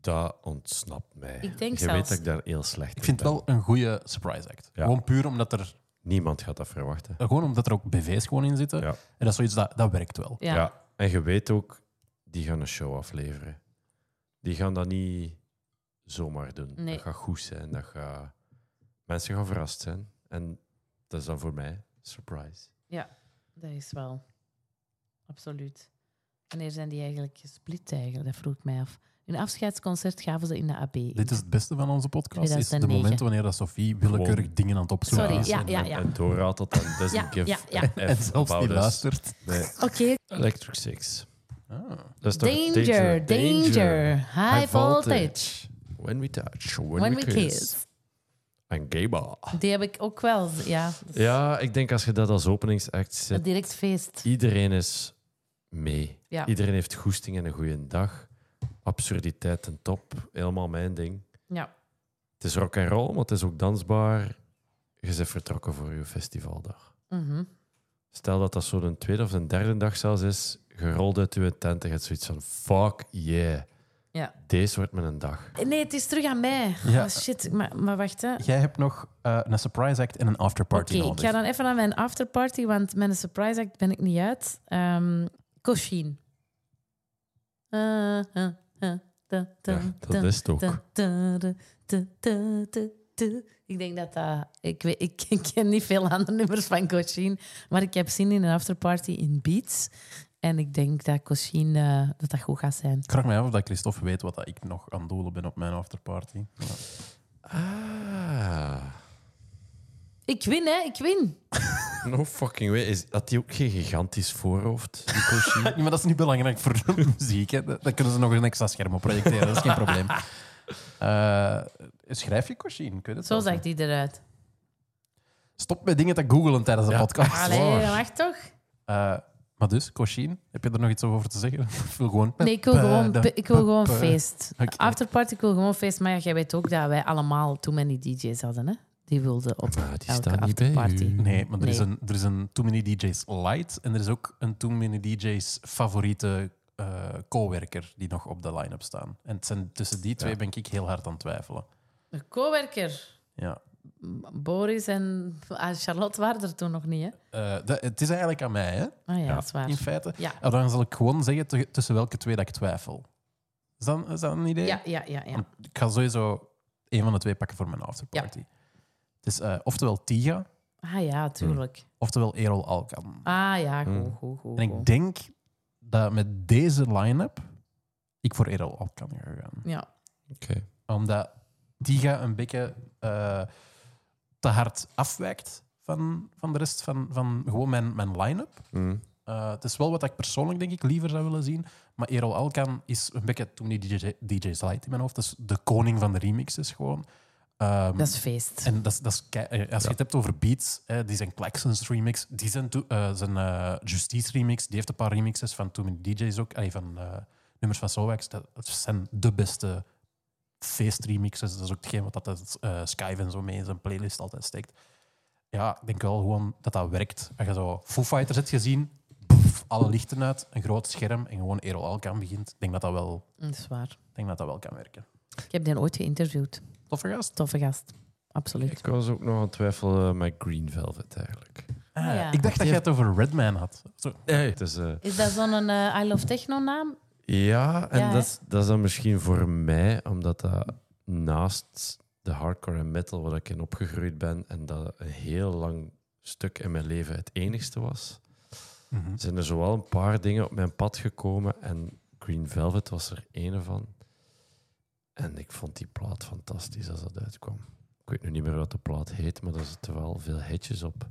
Speaker 3: Dat ontsnapt mij.
Speaker 1: Ik denk
Speaker 3: Je
Speaker 1: zelfs-
Speaker 3: weet dat ik daar heel slecht
Speaker 2: Ik vind het
Speaker 3: in ben.
Speaker 2: wel een goede surprise act.
Speaker 3: Ja.
Speaker 2: Gewoon puur omdat er
Speaker 3: Niemand gaat dat verwachten.
Speaker 2: Gewoon omdat er ook BV's gewoon in zitten.
Speaker 3: Ja.
Speaker 2: En dat is zoiets dat, dat werkt wel.
Speaker 1: Ja.
Speaker 3: Ja, en je weet ook, die gaan een show afleveren. Die gaan dat niet zomaar doen.
Speaker 1: Nee.
Speaker 3: Dat gaat goed zijn. Dat gaat... Mensen gaan verrast zijn. En dat is dan voor mij surprise.
Speaker 1: dat is wel. Absoluut. Wanneer zijn die eigenlijk gesplit eigenlijk? Dat vroeg ik mij af. Hun afscheidsconcert gaven ze in de AB.
Speaker 2: Dit is het beste van onze podcast. Is de
Speaker 1: 2009.
Speaker 2: momenten wanneer dat Sofie willekeurig
Speaker 3: Gewoon.
Speaker 2: dingen aan het opzoeken
Speaker 1: Sorry,
Speaker 2: is.
Speaker 1: ja,
Speaker 2: en-
Speaker 1: ja, ja.
Speaker 3: En doorraadt dat dan doesn't
Speaker 1: Ja,
Speaker 3: give
Speaker 1: ja, ja.
Speaker 3: a F
Speaker 2: En dus- zelfs
Speaker 3: about
Speaker 2: die
Speaker 3: us.
Speaker 2: luistert.
Speaker 3: Nee.
Speaker 1: Oké,
Speaker 3: Electric Six.
Speaker 2: Ah.
Speaker 3: Dat is toch
Speaker 1: danger, danger, High, voltage.
Speaker 3: When we touch. When,
Speaker 1: When
Speaker 3: we,
Speaker 1: we kiss.
Speaker 3: En gay bar.
Speaker 1: Die heb ik ook wel, ja.
Speaker 3: Ja, ik denk als je dat als openingsact zet,
Speaker 1: Direct feest.
Speaker 3: iedereen is mee.
Speaker 1: Ja.
Speaker 3: Iedereen heeft goesting en een goede dag. Absurditeit en top. Helemaal mijn ding.
Speaker 1: Ja.
Speaker 3: Het is rock and roll, maar het is ook dansbaar. Je bent vertrokken voor je festivaldag.
Speaker 1: Mhm.
Speaker 3: Stel dat dat zo'n tweede of een derde dag zelfs is, gerold uit je tent en je hebt zoiets van fuck yeah.
Speaker 1: Ja.
Speaker 3: Deze wordt mijn dag.
Speaker 1: Nee, het is terug aan mij.
Speaker 2: Ja.
Speaker 1: Oh, shit, maar, maar wacht, hè.
Speaker 2: Ah, Jij hebt nog eh, een surprise act en een afterparty
Speaker 1: Oké, ik
Speaker 2: nodig.
Speaker 1: ga dan even naar mijn afterparty, want mijn surprise act ben ik niet uit. Ehm Cochin. Eh, eh, eh, da, da,
Speaker 3: Ja, dat
Speaker 1: da,
Speaker 3: is het ook.
Speaker 1: da, da, da, da, da, da, da. Ik denk dat dat... Ik, weet, ik, <laughs> ken niet veel andere nummers van Cochin, maar ik heb zin in een afterparty in Beats. En ik denk dat Cochin eh, dat, dat goed gaat zijn.
Speaker 2: Ik vraag me af of dat Christophe weet wat dat ik nog aan het doelen ben op mijn afterparty. Ja.
Speaker 3: Ah.
Speaker 1: Ik win, hè. Ik win.
Speaker 3: No fucking way. Is, had die ook geen gigantisch voorhoofd? die
Speaker 1: <laughs>
Speaker 3: Koshi?
Speaker 2: Ja, maar dat is niet belangrijk voor de <laughs> muziek. Hè. Daar kunnen ze nog een extra scherm op projecteren. Dat is geen probleem. <laughs> Eh, schrijf je Cochin?
Speaker 1: Zo zag die eruit.
Speaker 2: Stop met dingen te googlen tijdens de
Speaker 3: Ja.
Speaker 2: podcast.
Speaker 1: Allee, dat mag toch?
Speaker 2: Eh, maar dus, Cochin, heb je er nog iets over te zeggen? <laughs> Of wil gewoon...
Speaker 1: Nee, ik wil gewoon,
Speaker 2: Pe-
Speaker 1: ik wil gewoon
Speaker 2: pe-
Speaker 1: feest.
Speaker 2: Oké.
Speaker 1: Afterparty, ik wil gewoon feest. Maar ja, jij weet ook dat wij allemaal toen many DJ's hadden, hè? Die wilden op
Speaker 3: Ah, die
Speaker 1: elke
Speaker 3: staat niet bij
Speaker 1: afterparty.
Speaker 3: u.
Speaker 2: Nee, maar er, Is
Speaker 1: Nee.
Speaker 2: een, er is een Too Many DJs Light en er is ook een Too Many DJs favoriete eh coworker die nog op de line-up staan. En het zijn, tussen die twee ben ik heel hard aan het twijfelen.
Speaker 1: Een coworker.
Speaker 2: Ja.
Speaker 1: Boris en ah, Charlotte waren er toen nog niet, hè?
Speaker 2: Eh, dat- het is eigenlijk aan mij, hè?
Speaker 1: Ah ja, dat is waar.
Speaker 2: in feite.
Speaker 1: Ja.
Speaker 2: Ah, Dan zal ik gewoon zeggen te- tussen welke twee dat ik twijfel. Is dat, is dat een idee?
Speaker 1: Ja, ja, ja. ja.
Speaker 2: Want ik ga sowieso een van de twee pakken voor mijn afterparty. Het is eh, oftewel Tiga,
Speaker 1: Ah ja, tuurlijk.
Speaker 2: oftewel Erol Alkan.
Speaker 1: Ah ja, goed, goed, goed.
Speaker 2: En
Speaker 1: goed.
Speaker 2: ik denk dat met deze line-up ik voor Erol op kan gaan.
Speaker 1: Ja,
Speaker 3: Oké.
Speaker 2: Omdat Tiga een beetje eh, te hard afwijkt van, van de rest van, van gewoon mijn, mijn line-up.
Speaker 3: Hmm.
Speaker 2: Eh, het is wel wat ik persoonlijk denk ik liever zou willen zien. Maar Erol Alkan is een beetje toen die DJ, DJ's light in mijn hoofd. Dat is de koning van de remixes gewoon. Ehm,
Speaker 1: dat is feest.
Speaker 2: en dat is, dat is kei- eh, als je het hebt over beats, hè, die zijn Claxons remix, die zijn, to- eh, zijn eh, Justice remix, die heeft een paar remixes van Too Many DJs ook, allee, van eh, nummers van Sowax. Dat dat zijn de beste feestremixes. Dat is ook hetgeen wat dat eh, Skype en zo mee in zijn playlist altijd steekt. Ja, ik denk wel gewoon dat dat werkt. Als je zo Foo Fighters hebt gezien, boef, alle lichten uit, een groot scherm en gewoon Erol Alkan begint, ik denk dat dat wel,
Speaker 1: Mm, Dat is waar.
Speaker 2: ik denk dat dat wel kan werken.
Speaker 1: Ik heb die ooit geïnterviewd.
Speaker 2: Toffe gast.
Speaker 1: Toffe gast. Absoluut.
Speaker 3: Ik was ook nog aan het twijfelen eh, met Green Velvet eigenlijk.
Speaker 2: Ah,
Speaker 1: Ah, ja.
Speaker 2: Ik dacht dat jij het over Redman had. Zo,
Speaker 3: Nee. Dus, eh,
Speaker 1: Is dat zo'n eh, I Love Techno naam?
Speaker 3: ja, en
Speaker 1: Ja, hè?
Speaker 3: dat, is- dat is dan misschien voor mij, omdat dat naast de hardcore en metal waar ik in opgegroeid ben en dat een heel lang stuk in mijn leven het enigste was,
Speaker 2: mhm.
Speaker 3: zijn er zowel een paar dingen op mijn pad gekomen en Green Velvet was er een van. En ik vond die plaat fantastisch als dat uitkwam. Ik weet nu niet meer wat de plaat heet, maar daar zitten wel veel hitjes op.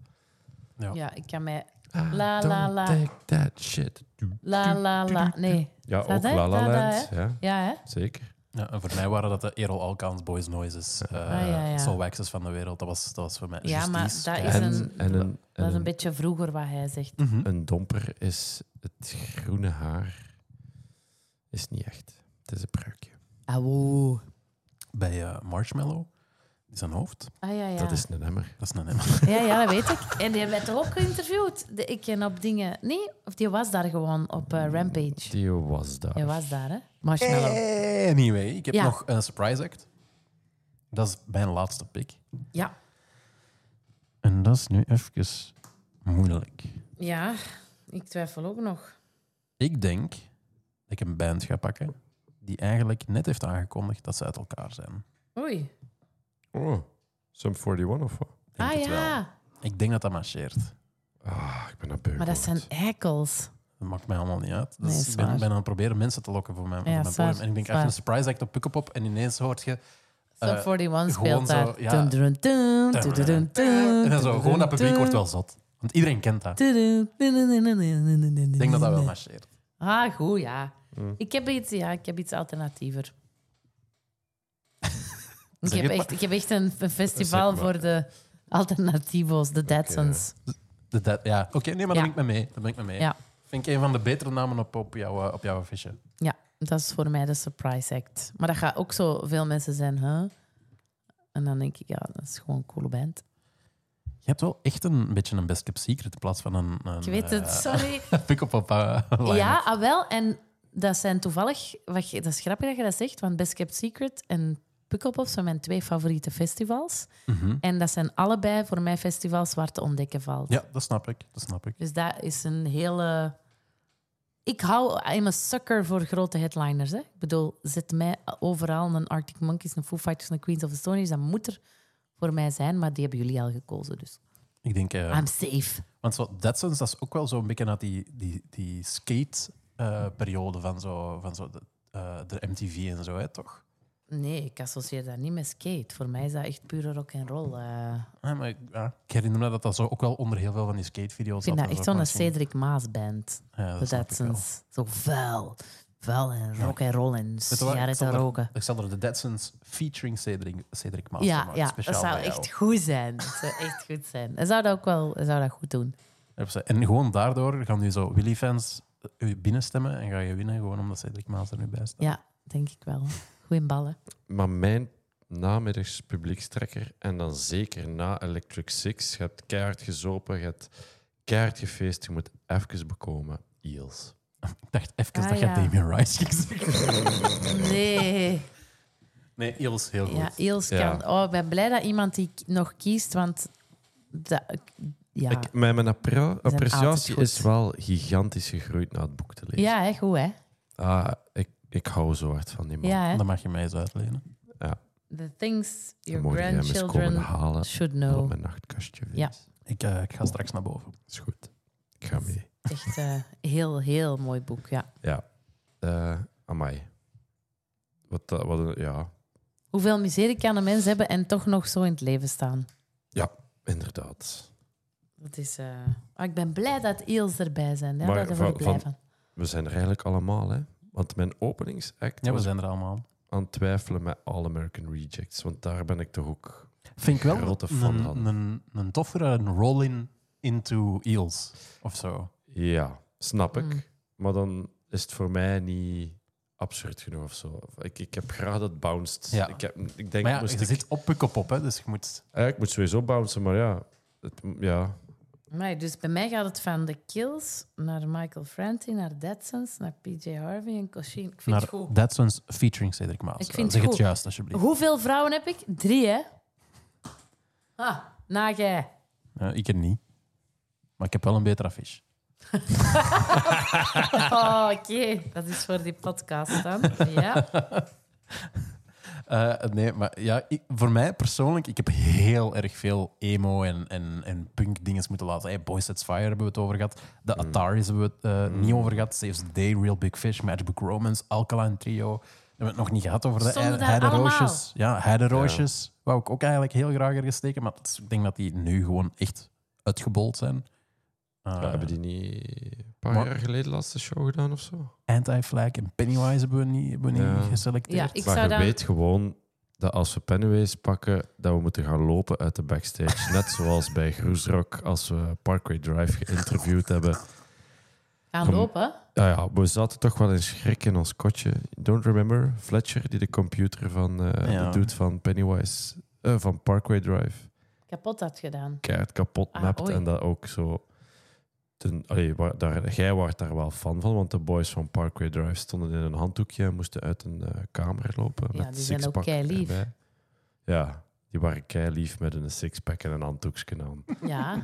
Speaker 2: Ja.
Speaker 1: Ja, ik kan mij...
Speaker 3: Ah,
Speaker 1: La,
Speaker 3: don't
Speaker 1: la, la.
Speaker 3: Take that shit.
Speaker 1: La, la, la. Nee.
Speaker 3: Ja,
Speaker 1: Is dat
Speaker 3: ook
Speaker 1: het?
Speaker 3: La La
Speaker 1: Dat,
Speaker 3: Land. Ja,
Speaker 1: Ja, hè?
Speaker 3: zeker.
Speaker 2: Ja, en voor mij waren dat de Erol Alkans Boys Noises, eh
Speaker 1: Ah, ja, ja.
Speaker 2: Soul Waxes van de wereld. Dat was, dat was voor mij
Speaker 1: Ja, maar
Speaker 2: Justice.
Speaker 1: dat
Speaker 2: Ja.
Speaker 1: is
Speaker 3: En,
Speaker 1: een-
Speaker 3: en een, en
Speaker 1: Dat is een
Speaker 3: een,
Speaker 1: beetje vroeger wat hij zegt.
Speaker 2: Mhm.
Speaker 3: een domper is het groene haar. Is niet echt. Het is een pruikje.
Speaker 1: Auw.
Speaker 2: Bij eh, Marshmallow, die zijn hoofd,
Speaker 1: Ah ja, ja.
Speaker 3: Dat is een emmer.
Speaker 2: dat is een hem.
Speaker 1: ja, ja, dat weet ik. En die werd toch ook geïnterviewd? De, ik ken op dingen. Nee, of die was daar gewoon op eh, Rampage.
Speaker 3: Die was daar.
Speaker 1: Hij was daar, hè? Marshmallow.
Speaker 2: Anyway, ik heb
Speaker 1: Ja.
Speaker 2: nog een surprise act. Dat is mijn laatste pick.
Speaker 1: Ja.
Speaker 2: Eh, En dat is nu even moeilijk.
Speaker 1: Ja, ik twijfel ook nog.
Speaker 2: Ik denk dat ik een band ga pakken die eigenlijk net heeft aangekondigd dat ze uit elkaar zijn.
Speaker 1: Oei.
Speaker 3: Oh, Sum 41 of wat?
Speaker 2: Denk
Speaker 1: ah
Speaker 2: het
Speaker 1: ja,
Speaker 2: wel. Ik denk dat dat marcheert.
Speaker 3: Ah, ik ben dat beu.
Speaker 1: maar dat zijn
Speaker 3: geworden.
Speaker 1: eikels.
Speaker 2: Dat maakt mij allemaal niet uit. Dus
Speaker 1: Nee, is
Speaker 2: ik ben,
Speaker 1: waar.
Speaker 2: ben aan het proberen mensen te lokken voor mijn, voor
Speaker 1: Ja,
Speaker 2: mijn
Speaker 1: is waar,
Speaker 2: podium. En ik denk,
Speaker 1: is
Speaker 2: als je een
Speaker 1: waar.
Speaker 2: surprise act op Pukkelpop en ineens hoort je... eh,
Speaker 1: Sub 41
Speaker 2: gewoon
Speaker 1: speelt daar.
Speaker 2: zo, ja.
Speaker 1: Dun, dun, dun, dun, dun, dun, dun,
Speaker 2: en dan zo,
Speaker 1: dun,
Speaker 2: gewoon
Speaker 1: dun,
Speaker 2: dat publiek
Speaker 1: dun.
Speaker 2: wordt wel zot. Want iedereen kent dat.
Speaker 1: Dun, dun, dun, dun, dun, dun, dun, dun, dun,
Speaker 2: Ik denk dat dat wel
Speaker 1: dun.
Speaker 2: marcheert.
Speaker 1: Ah, goed, ja.
Speaker 3: Mm.
Speaker 1: Ik, heb iets, ja ik heb iets
Speaker 2: <laughs>
Speaker 1: alternatiever. ik,
Speaker 2: Zeg
Speaker 1: heb
Speaker 2: het
Speaker 1: echt,
Speaker 2: maar.
Speaker 1: ik heb echt een, een festival
Speaker 3: maar.
Speaker 1: voor de alternativos, de Datsuns.
Speaker 2: De dat- ja, oké, nee, maar daar
Speaker 1: Ja.
Speaker 2: ben ik mee mee. Daar ben ik mee mee.
Speaker 1: Ja.
Speaker 2: Vind ik een van de betere namen op, op, jouw, eh, op jouw affiche.
Speaker 1: Ja, dat is voor mij de surprise act. Maar dat gaat ook zo veel mensen zijn, hè? En dan denk ik, ja, dat is gewoon een coole band.
Speaker 2: Je hebt wel echt een beetje een best kept secret in plaats van een... een
Speaker 1: Ik weet
Speaker 2: eh,
Speaker 1: het, sorry.
Speaker 2: <laughs> Pukkelpop eh, line-up.
Speaker 1: Ja, ah, wel. En dat zijn toevallig... Wat, je- dat is grappig dat je dat zegt, want Best Kept Secret en Pukkelpop zijn mijn twee favoriete festivals.
Speaker 2: Mhm.
Speaker 1: En dat zijn allebei voor mij festivals waar te ontdekken valt.
Speaker 2: Ja, dat snap ik. Dat snap ik.
Speaker 1: Dus dat is een hele... Ik hou... I'm a sucker voor grote headliners. Hè. Ik bedoel, zet mij overal een Arctic Monkeys, een Foo Fighters, een Queens of the Stone Age. Dat moet er voor mij zijn, maar die hebben jullie al gekozen. Dus
Speaker 2: Ik denk... eh,
Speaker 1: I'm safe.
Speaker 2: Want zo, Datsuns, dat is ook wel zo'n beetje uit die, die, die skate-periode van, zo, van zo de, eh, de MTV en zo, hè, toch?
Speaker 1: Nee, ik associeer dat niet met skate. Voor mij is dat echt pure rock and roll. eh.
Speaker 2: Ja, maar ik, ja, ik herinner me dat dat zo ook wel onder heel veel van die skatevideo's
Speaker 1: Ik vind dat
Speaker 2: zat en
Speaker 1: echt
Speaker 2: zo,
Speaker 1: zo'n
Speaker 2: maar misschien-
Speaker 1: Cedric Maas band.
Speaker 2: Ja,
Speaker 1: De
Speaker 2: dat snap ik wel.
Speaker 1: Datsuns. Zo vuil. Vuil en rock and roll en
Speaker 2: Weet je wat,
Speaker 1: sigaren te
Speaker 2: ik zal er-
Speaker 1: roken.
Speaker 2: Ik zal er de Datsuns featuring Cedric, Cedric Maas
Speaker 1: Ja,
Speaker 2: maken,
Speaker 1: ja, dat
Speaker 2: speciaal
Speaker 1: zou
Speaker 2: bij jou.
Speaker 1: echt goed zijn. Dat zou echt goed zijn. En zou dat ook wel zou dat goed doen.
Speaker 2: En gewoon daardoor gaan nu zo Willy-fans eh, u binnenstemmen en ga je winnen, gewoon omdat Cedric Maas er nu bij staat.
Speaker 1: Ja, denk ik wel. Goeie ballen.
Speaker 3: Maar mijn namiddags publiekstrekker, en dan zeker na Electric Six, je hebt keihard gezopen, je hebt keihard gefeest, je moet even bekomen. Eels.
Speaker 2: Ik dacht even
Speaker 1: Ah,
Speaker 2: dat
Speaker 1: ja.
Speaker 2: je Damien Rice ging zeggen. <laughs>
Speaker 1: Nee.
Speaker 2: Nee, Iels, heel goed.
Speaker 1: Ja, Iels
Speaker 3: Ja.
Speaker 1: kan... Oh, ik ben blij dat iemand die k- nog kiest, want... Dat, ja,
Speaker 3: Ik, mijn mijn appre-
Speaker 1: altijd
Speaker 3: appreciatie
Speaker 1: goed.
Speaker 3: is wel gigantisch gegroeid na het boek te lezen.
Speaker 1: ja hè, goed, hè?
Speaker 3: Ah, ik, ik hou zo hard van die man.
Speaker 1: Ja, hè?
Speaker 2: Dan mag je mij eens uitlenen.
Speaker 1: The things
Speaker 3: Dan
Speaker 1: your
Speaker 3: moet je hem eens komen
Speaker 1: grandchildren
Speaker 3: halen
Speaker 1: should
Speaker 3: op
Speaker 1: know.
Speaker 3: mijn nachtkastje. Vince.
Speaker 1: Ja.
Speaker 2: Ik, eh, ik ga straks naar boven.
Speaker 3: Is goed. Ik ga mee.
Speaker 1: Echt eh heel, heel mooi boek, ja.
Speaker 3: Ja. Eh amai. Wat, dat- wat, een- ja,
Speaker 1: Hoeveel miserie kan een mens hebben en toch nog zo in het leven staan?
Speaker 3: inderdaad.
Speaker 1: Dat is, eh, ah, ik ben blij dat Eels erbij zijn. Ja,
Speaker 3: Maar
Speaker 1: daar word ik
Speaker 3: van-
Speaker 1: blij
Speaker 3: van-
Speaker 1: van.
Speaker 3: We zijn er eigenlijk allemaal, hè. Want mijn openingsact
Speaker 2: Ja, we
Speaker 3: was
Speaker 2: zijn er allemaal.
Speaker 3: aan het twijfelen met All American Rejects. Want daar ben ik toch ook...
Speaker 2: Vind ik wel
Speaker 3: Grote fan
Speaker 2: een,
Speaker 3: van.
Speaker 2: een, een toffere een roll-in into eels of zo.
Speaker 3: Ja, snap ik.
Speaker 1: Mm.
Speaker 3: Maar dan is het voor mij niet absurd genoeg of zo. Ik, ik heb graag dat bounced.
Speaker 2: Ja.
Speaker 3: Ik, heb, ik denk...
Speaker 2: maar ja,
Speaker 3: moest
Speaker 2: je
Speaker 3: ik,
Speaker 2: zit op Pukkelpop, hè, dus je moet...
Speaker 3: Ja, ik moet sowieso bouncen, maar ja... Het, ja.
Speaker 1: Maar dus bij mij gaat het van de Kills naar Michael Franti, naar Datsuns, naar PJ Harvey en Cochin. Ik vind het
Speaker 2: Naar
Speaker 1: goed.
Speaker 2: Datsuns featuring Cedric Maas.
Speaker 1: Ik vind het
Speaker 2: zeg
Speaker 1: goed.
Speaker 2: het juist, alsjeblieft.
Speaker 1: Hoeveel vrouwen heb ik? Drie, hè? Ah, na jij.
Speaker 2: Eh, ik er niet. Maar ik heb wel een betere affiche.
Speaker 1: Oh, oké. Dat is voor die podcast dan. Ja.
Speaker 2: Eh, nee, maar ja, ik- voor mij persoonlijk, ik heb heel erg veel emo en, en, en punk dingen moeten laten. Hey, Boy Sets Fire hebben we het over gehad. De Ataris hebben we het eh, niet over gehad. Saves the Day, Real Big Fish, Matchbook Romance, Alkaline Trio. Daar hebben we het nog niet gehad over de
Speaker 1: Stonden
Speaker 2: Hei-
Speaker 1: daar
Speaker 2: Heideroosjes. Ja, Heideroosjes. Wou ik ook eigenlijk heel graag ergens steken, maar dat is- ik denk dat die nu gewoon echt uitgebold zijn. Eh,
Speaker 3: Ja, hebben die niet een paar
Speaker 2: maar-
Speaker 3: jaar geleden laatste show gedaan of zo?
Speaker 2: Anti-Flag en Pennywise hebben we niet, hebben we niet
Speaker 3: Ja.
Speaker 2: geselecteerd.
Speaker 1: ja, ik
Speaker 3: maar
Speaker 1: zou
Speaker 3: je
Speaker 1: dan...
Speaker 3: weet gewoon dat als we Pennyways pakken, dat we moeten gaan lopen uit de backstage. Net zoals bij Groesrock, als we Parkway Drive geïnterviewd hebben.
Speaker 1: Gaan lopen.
Speaker 3: Ja, Nou ja, we zaten toch wel in schrik in ons kotje. Don't remember Fletcher, die de computer van eh,
Speaker 2: Ja.
Speaker 3: de dude van Pennywise, eh, van Parkway Drive,
Speaker 1: Kapot had gedaan.
Speaker 3: keihard kapot
Speaker 1: Ah,
Speaker 3: mapt.
Speaker 1: oei.
Speaker 3: En dat ook zo... Ten, allee, wa- daar, jij wordt daar wel fan van, want de boys van Parkway Drive stonden in een handdoekje en moesten uit een eh, kamer lopen
Speaker 1: Ja,
Speaker 3: met
Speaker 1: die zijn ook
Speaker 3: sixpack
Speaker 1: keilief.
Speaker 3: erbij. Ja, Die waren kei lief met een sixpack en een handdoekje aan.
Speaker 1: Ja.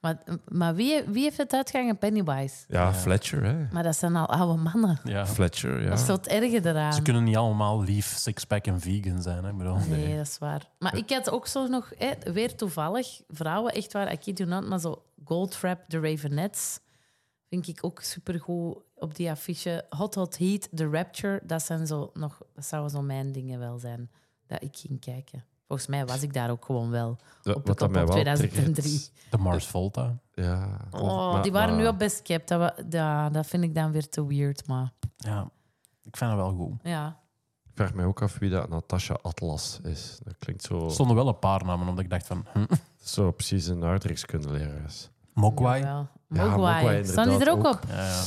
Speaker 1: maar maar wie, wie heeft het uitgehangen? Pennywise.
Speaker 3: Ja, Fletcher, hè?
Speaker 1: Maar dat zijn al oude mannen.
Speaker 2: Ja.
Speaker 3: Fletcher, ja.
Speaker 1: Dat is tot erger eraan.
Speaker 2: Ze kunnen niet allemaal lief, sixpack en vegan zijn. Hè? Ik bedoel,
Speaker 1: Nee, dat is waar. Maar ik had ook zo nog, hè, weer toevallig, vrouwen, echt waar, I kid you not, maar zo Goldfrapp, de Ravenettes, vind ik ook supergoed op die affiche. Hot Hot Heat, The Rapture, dat, zijn zo nog, dat zouden zo mijn dingen wel zijn, dat ik ging kijken. Volgens mij was ik daar ook gewoon wel,
Speaker 3: Ja,
Speaker 1: op de
Speaker 3: wat dat
Speaker 1: kop
Speaker 3: mij
Speaker 1: op
Speaker 3: wel
Speaker 1: 2003.
Speaker 3: triggert.
Speaker 2: De Mars Volta.
Speaker 3: Ja.
Speaker 1: Oh,
Speaker 3: Maar-
Speaker 1: die waren
Speaker 3: maar-
Speaker 1: nu op Best Kept, dat, wa- dat, dat vind ik dan weer te weird, maar
Speaker 2: Ja, ik vind dat wel goed.
Speaker 1: ja.
Speaker 3: Ik vraag mij ook af wie dat Natasha Atlas is. Dat klinkt zo,
Speaker 2: Er stonden wel een paar namen omdat ik dacht van... Hm,
Speaker 3: zo precies een aardrijkskundelerares.
Speaker 2: Mogwai. Ja,
Speaker 1: Jawel.
Speaker 3: Ja,
Speaker 1: Mogwai.
Speaker 3: Mogwai
Speaker 1: Staan die er ook,
Speaker 3: inderdaad
Speaker 1: op?
Speaker 2: ja.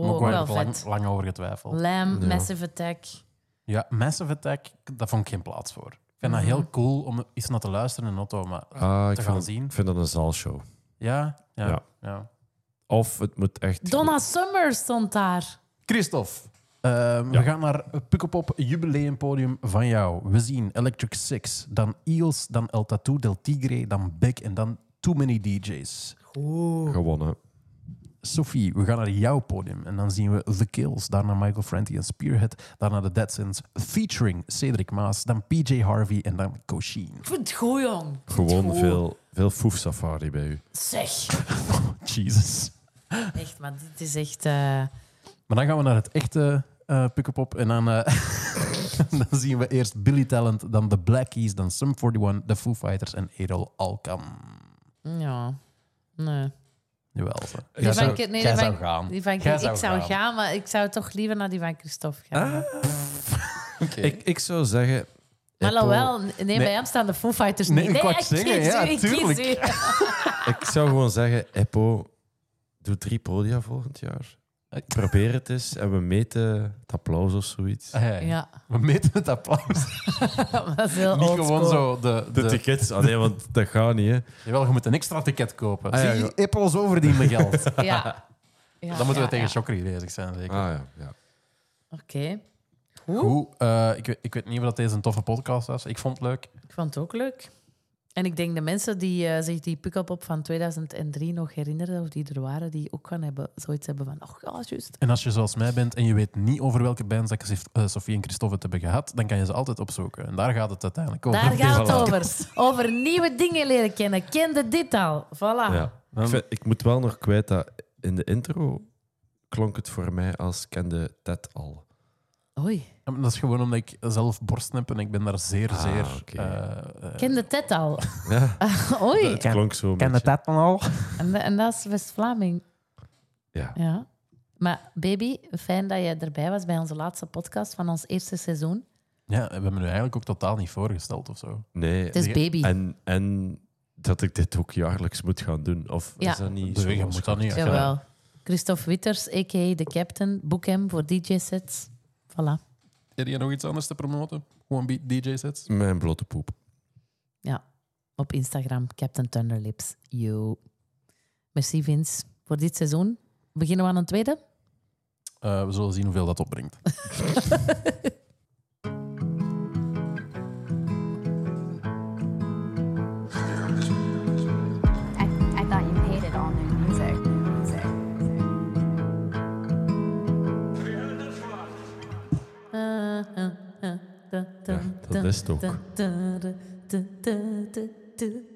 Speaker 1: Oh,
Speaker 2: Mogwai
Speaker 1: wel
Speaker 2: heb ik lang,
Speaker 1: vet.
Speaker 2: lang over getwijfeld.
Speaker 1: Lamb,
Speaker 3: Ja.
Speaker 1: Massive Attack.
Speaker 2: Ja, Massive Attack, daar vond ik geen plaats voor. Ik vind dat heel cool om eens naar te luisteren in auto, maar...
Speaker 3: Ah,
Speaker 2: Te
Speaker 3: ik vind,
Speaker 2: gaan
Speaker 3: dat-
Speaker 2: zien.
Speaker 3: ik vind dat een zaalshow.
Speaker 2: Ja, ja, ja.
Speaker 3: Ja. Of het moet echt...
Speaker 1: Donna Summer stond daar.
Speaker 2: Christophe. eh, We gaan naar Pukkelpop jubileumpodium van jou. We zien Electric Six, dan Eels, dan El Tatu, Del Tigre, dan Beck en dan Too Many DJs.
Speaker 3: gewonnen.
Speaker 2: Sophie, we gaan naar jouw podium en dan zien we The Kills, daarna Michael Franti en Spearhead, daarna The Dead Sins, featuring Cedric Maas, dan PJ Harvey en dan Kosheen.
Speaker 1: Ik vind het goed, jong.
Speaker 3: Gewoon veel, veel foefsafari bij u.
Speaker 1: Zeg.
Speaker 2: Jesus.
Speaker 1: Echt, maar dit is echt... eh,
Speaker 2: Maar dan gaan we naar het echte eh Pukkelpop. En dan, eh, <laughs> dan zien we eerst Billy Talent, dan The Black Keys, dan Sum 41, The Foo Fighters en Erol Alkan.
Speaker 1: ja. Nee.
Speaker 2: Jawel. Zo.
Speaker 1: Die van Kit- nee,
Speaker 2: jij
Speaker 1: die van-
Speaker 2: zou gaan. Ah.
Speaker 1: Die van,
Speaker 2: Jij
Speaker 1: ik zou gaan. maar ik zou toch liever naar die van Christophe gaan.
Speaker 3: Ik, ik zou zeggen...
Speaker 1: maar
Speaker 3: Apple-
Speaker 1: alhoewel, nee, bij hem staan de Foo Fighters
Speaker 2: Nee,
Speaker 1: niet.
Speaker 2: ik wou het
Speaker 1: kies
Speaker 2: zeggen, ja,
Speaker 1: u, ik kies
Speaker 2: tuurlijk.
Speaker 1: u.
Speaker 3: Ik zou gewoon zeggen, Eppo, doe drie podia volgend jaar.
Speaker 2: Eh,
Speaker 3: Probeer het eens en we meten het applaus of zoiets.
Speaker 2: Ah, ja.
Speaker 1: Ja, <laughs>
Speaker 2: We meten het applaus.
Speaker 1: dat is heel
Speaker 2: Niet
Speaker 1: old
Speaker 2: gewoon
Speaker 1: school.
Speaker 2: zo de... de,
Speaker 3: De tickets? Ah, nee, want dat gaat niet, hè.
Speaker 2: Jawel, je moet een extra ticket kopen.
Speaker 3: Ah, ja,
Speaker 2: Zie,
Speaker 3: ja.
Speaker 2: Apple zo verdienen <laughs> geld.
Speaker 1: Ja. Ja,
Speaker 2: dan moeten
Speaker 1: ja,
Speaker 2: we tegen
Speaker 1: ja.
Speaker 2: Shockery bezig zijn, zeker.
Speaker 3: Ah ja, ja.
Speaker 1: Oké,
Speaker 2: Goed, eh, ik, weet- ik weet niet of dat deze een toffe podcast was. Ik vond het leuk.
Speaker 1: ik vond het ook leuk. En ik denk de mensen die eh, zich die pick-up op van 2003 nog herinneren, of die er waren, die ook gaan hebben, zoiets hebben van, oh ja, juist.
Speaker 2: En als je zoals mij bent en je weet niet over welke bands dat Christ- eh, Sophie en Christophe het hebben gehad, dan kan je ze altijd opzoeken. En daar gaat het uiteindelijk over.
Speaker 3: <laughs>
Speaker 1: Daar gaat
Speaker 2: Voilà.
Speaker 1: het over. Over nieuwe dingen leren kennen. Kende dit al. Voilà.
Speaker 3: ja. Ik, vind- ik moet wel nog kwijt dat in de intro klonk het voor mij als kende Ted al. <laughs>
Speaker 1: Oei.
Speaker 2: Ja, maar Dat is gewoon omdat ik zelf borsten heb en ik ben daar zeer,
Speaker 3: Ah,
Speaker 2: zeer...
Speaker 3: oké.
Speaker 2: eh, eh,
Speaker 1: Kende dit al. <laughs>
Speaker 3: Ja,
Speaker 1: Oei.
Speaker 3: het klonk zo een beetje.
Speaker 2: dat dan al?
Speaker 1: En, en dat is West-Vlaming.
Speaker 3: Ja.
Speaker 1: Ja. Maar baby, fijn dat je erbij was bij onze laatste podcast van ons eerste seizoen.
Speaker 2: Ja, we hebben nu eigenlijk ook totaal niet voorgesteld of zo.
Speaker 3: Nee.
Speaker 1: Het is baby.
Speaker 3: En, en dat ik dit ook jaarlijks moet gaan doen. Of
Speaker 1: Ja.
Speaker 3: is dat niet
Speaker 2: Dus
Speaker 3: zo
Speaker 2: je moet dat niet.
Speaker 1: Jawel. Christophe Witters, a.k.a. de captain. Boek hem voor DJ-sets. Voilà.
Speaker 2: Heb je nog iets anders te promoten? Gewoon beat DJ sets?
Speaker 3: Mijn blote poep.
Speaker 1: Ja. Op Instagram, Captain Thunderlips. Yo. Merci Vince voor dit seizoen. Beginnen we aan een tweede?
Speaker 2: Eh, we zullen zien hoeveel dat opbrengt.
Speaker 9: I, I thought you hated all new music. music.
Speaker 3: Ja, dat is het ook.
Speaker 1: Uh, Dun, dun, dun, dun, dun, dun,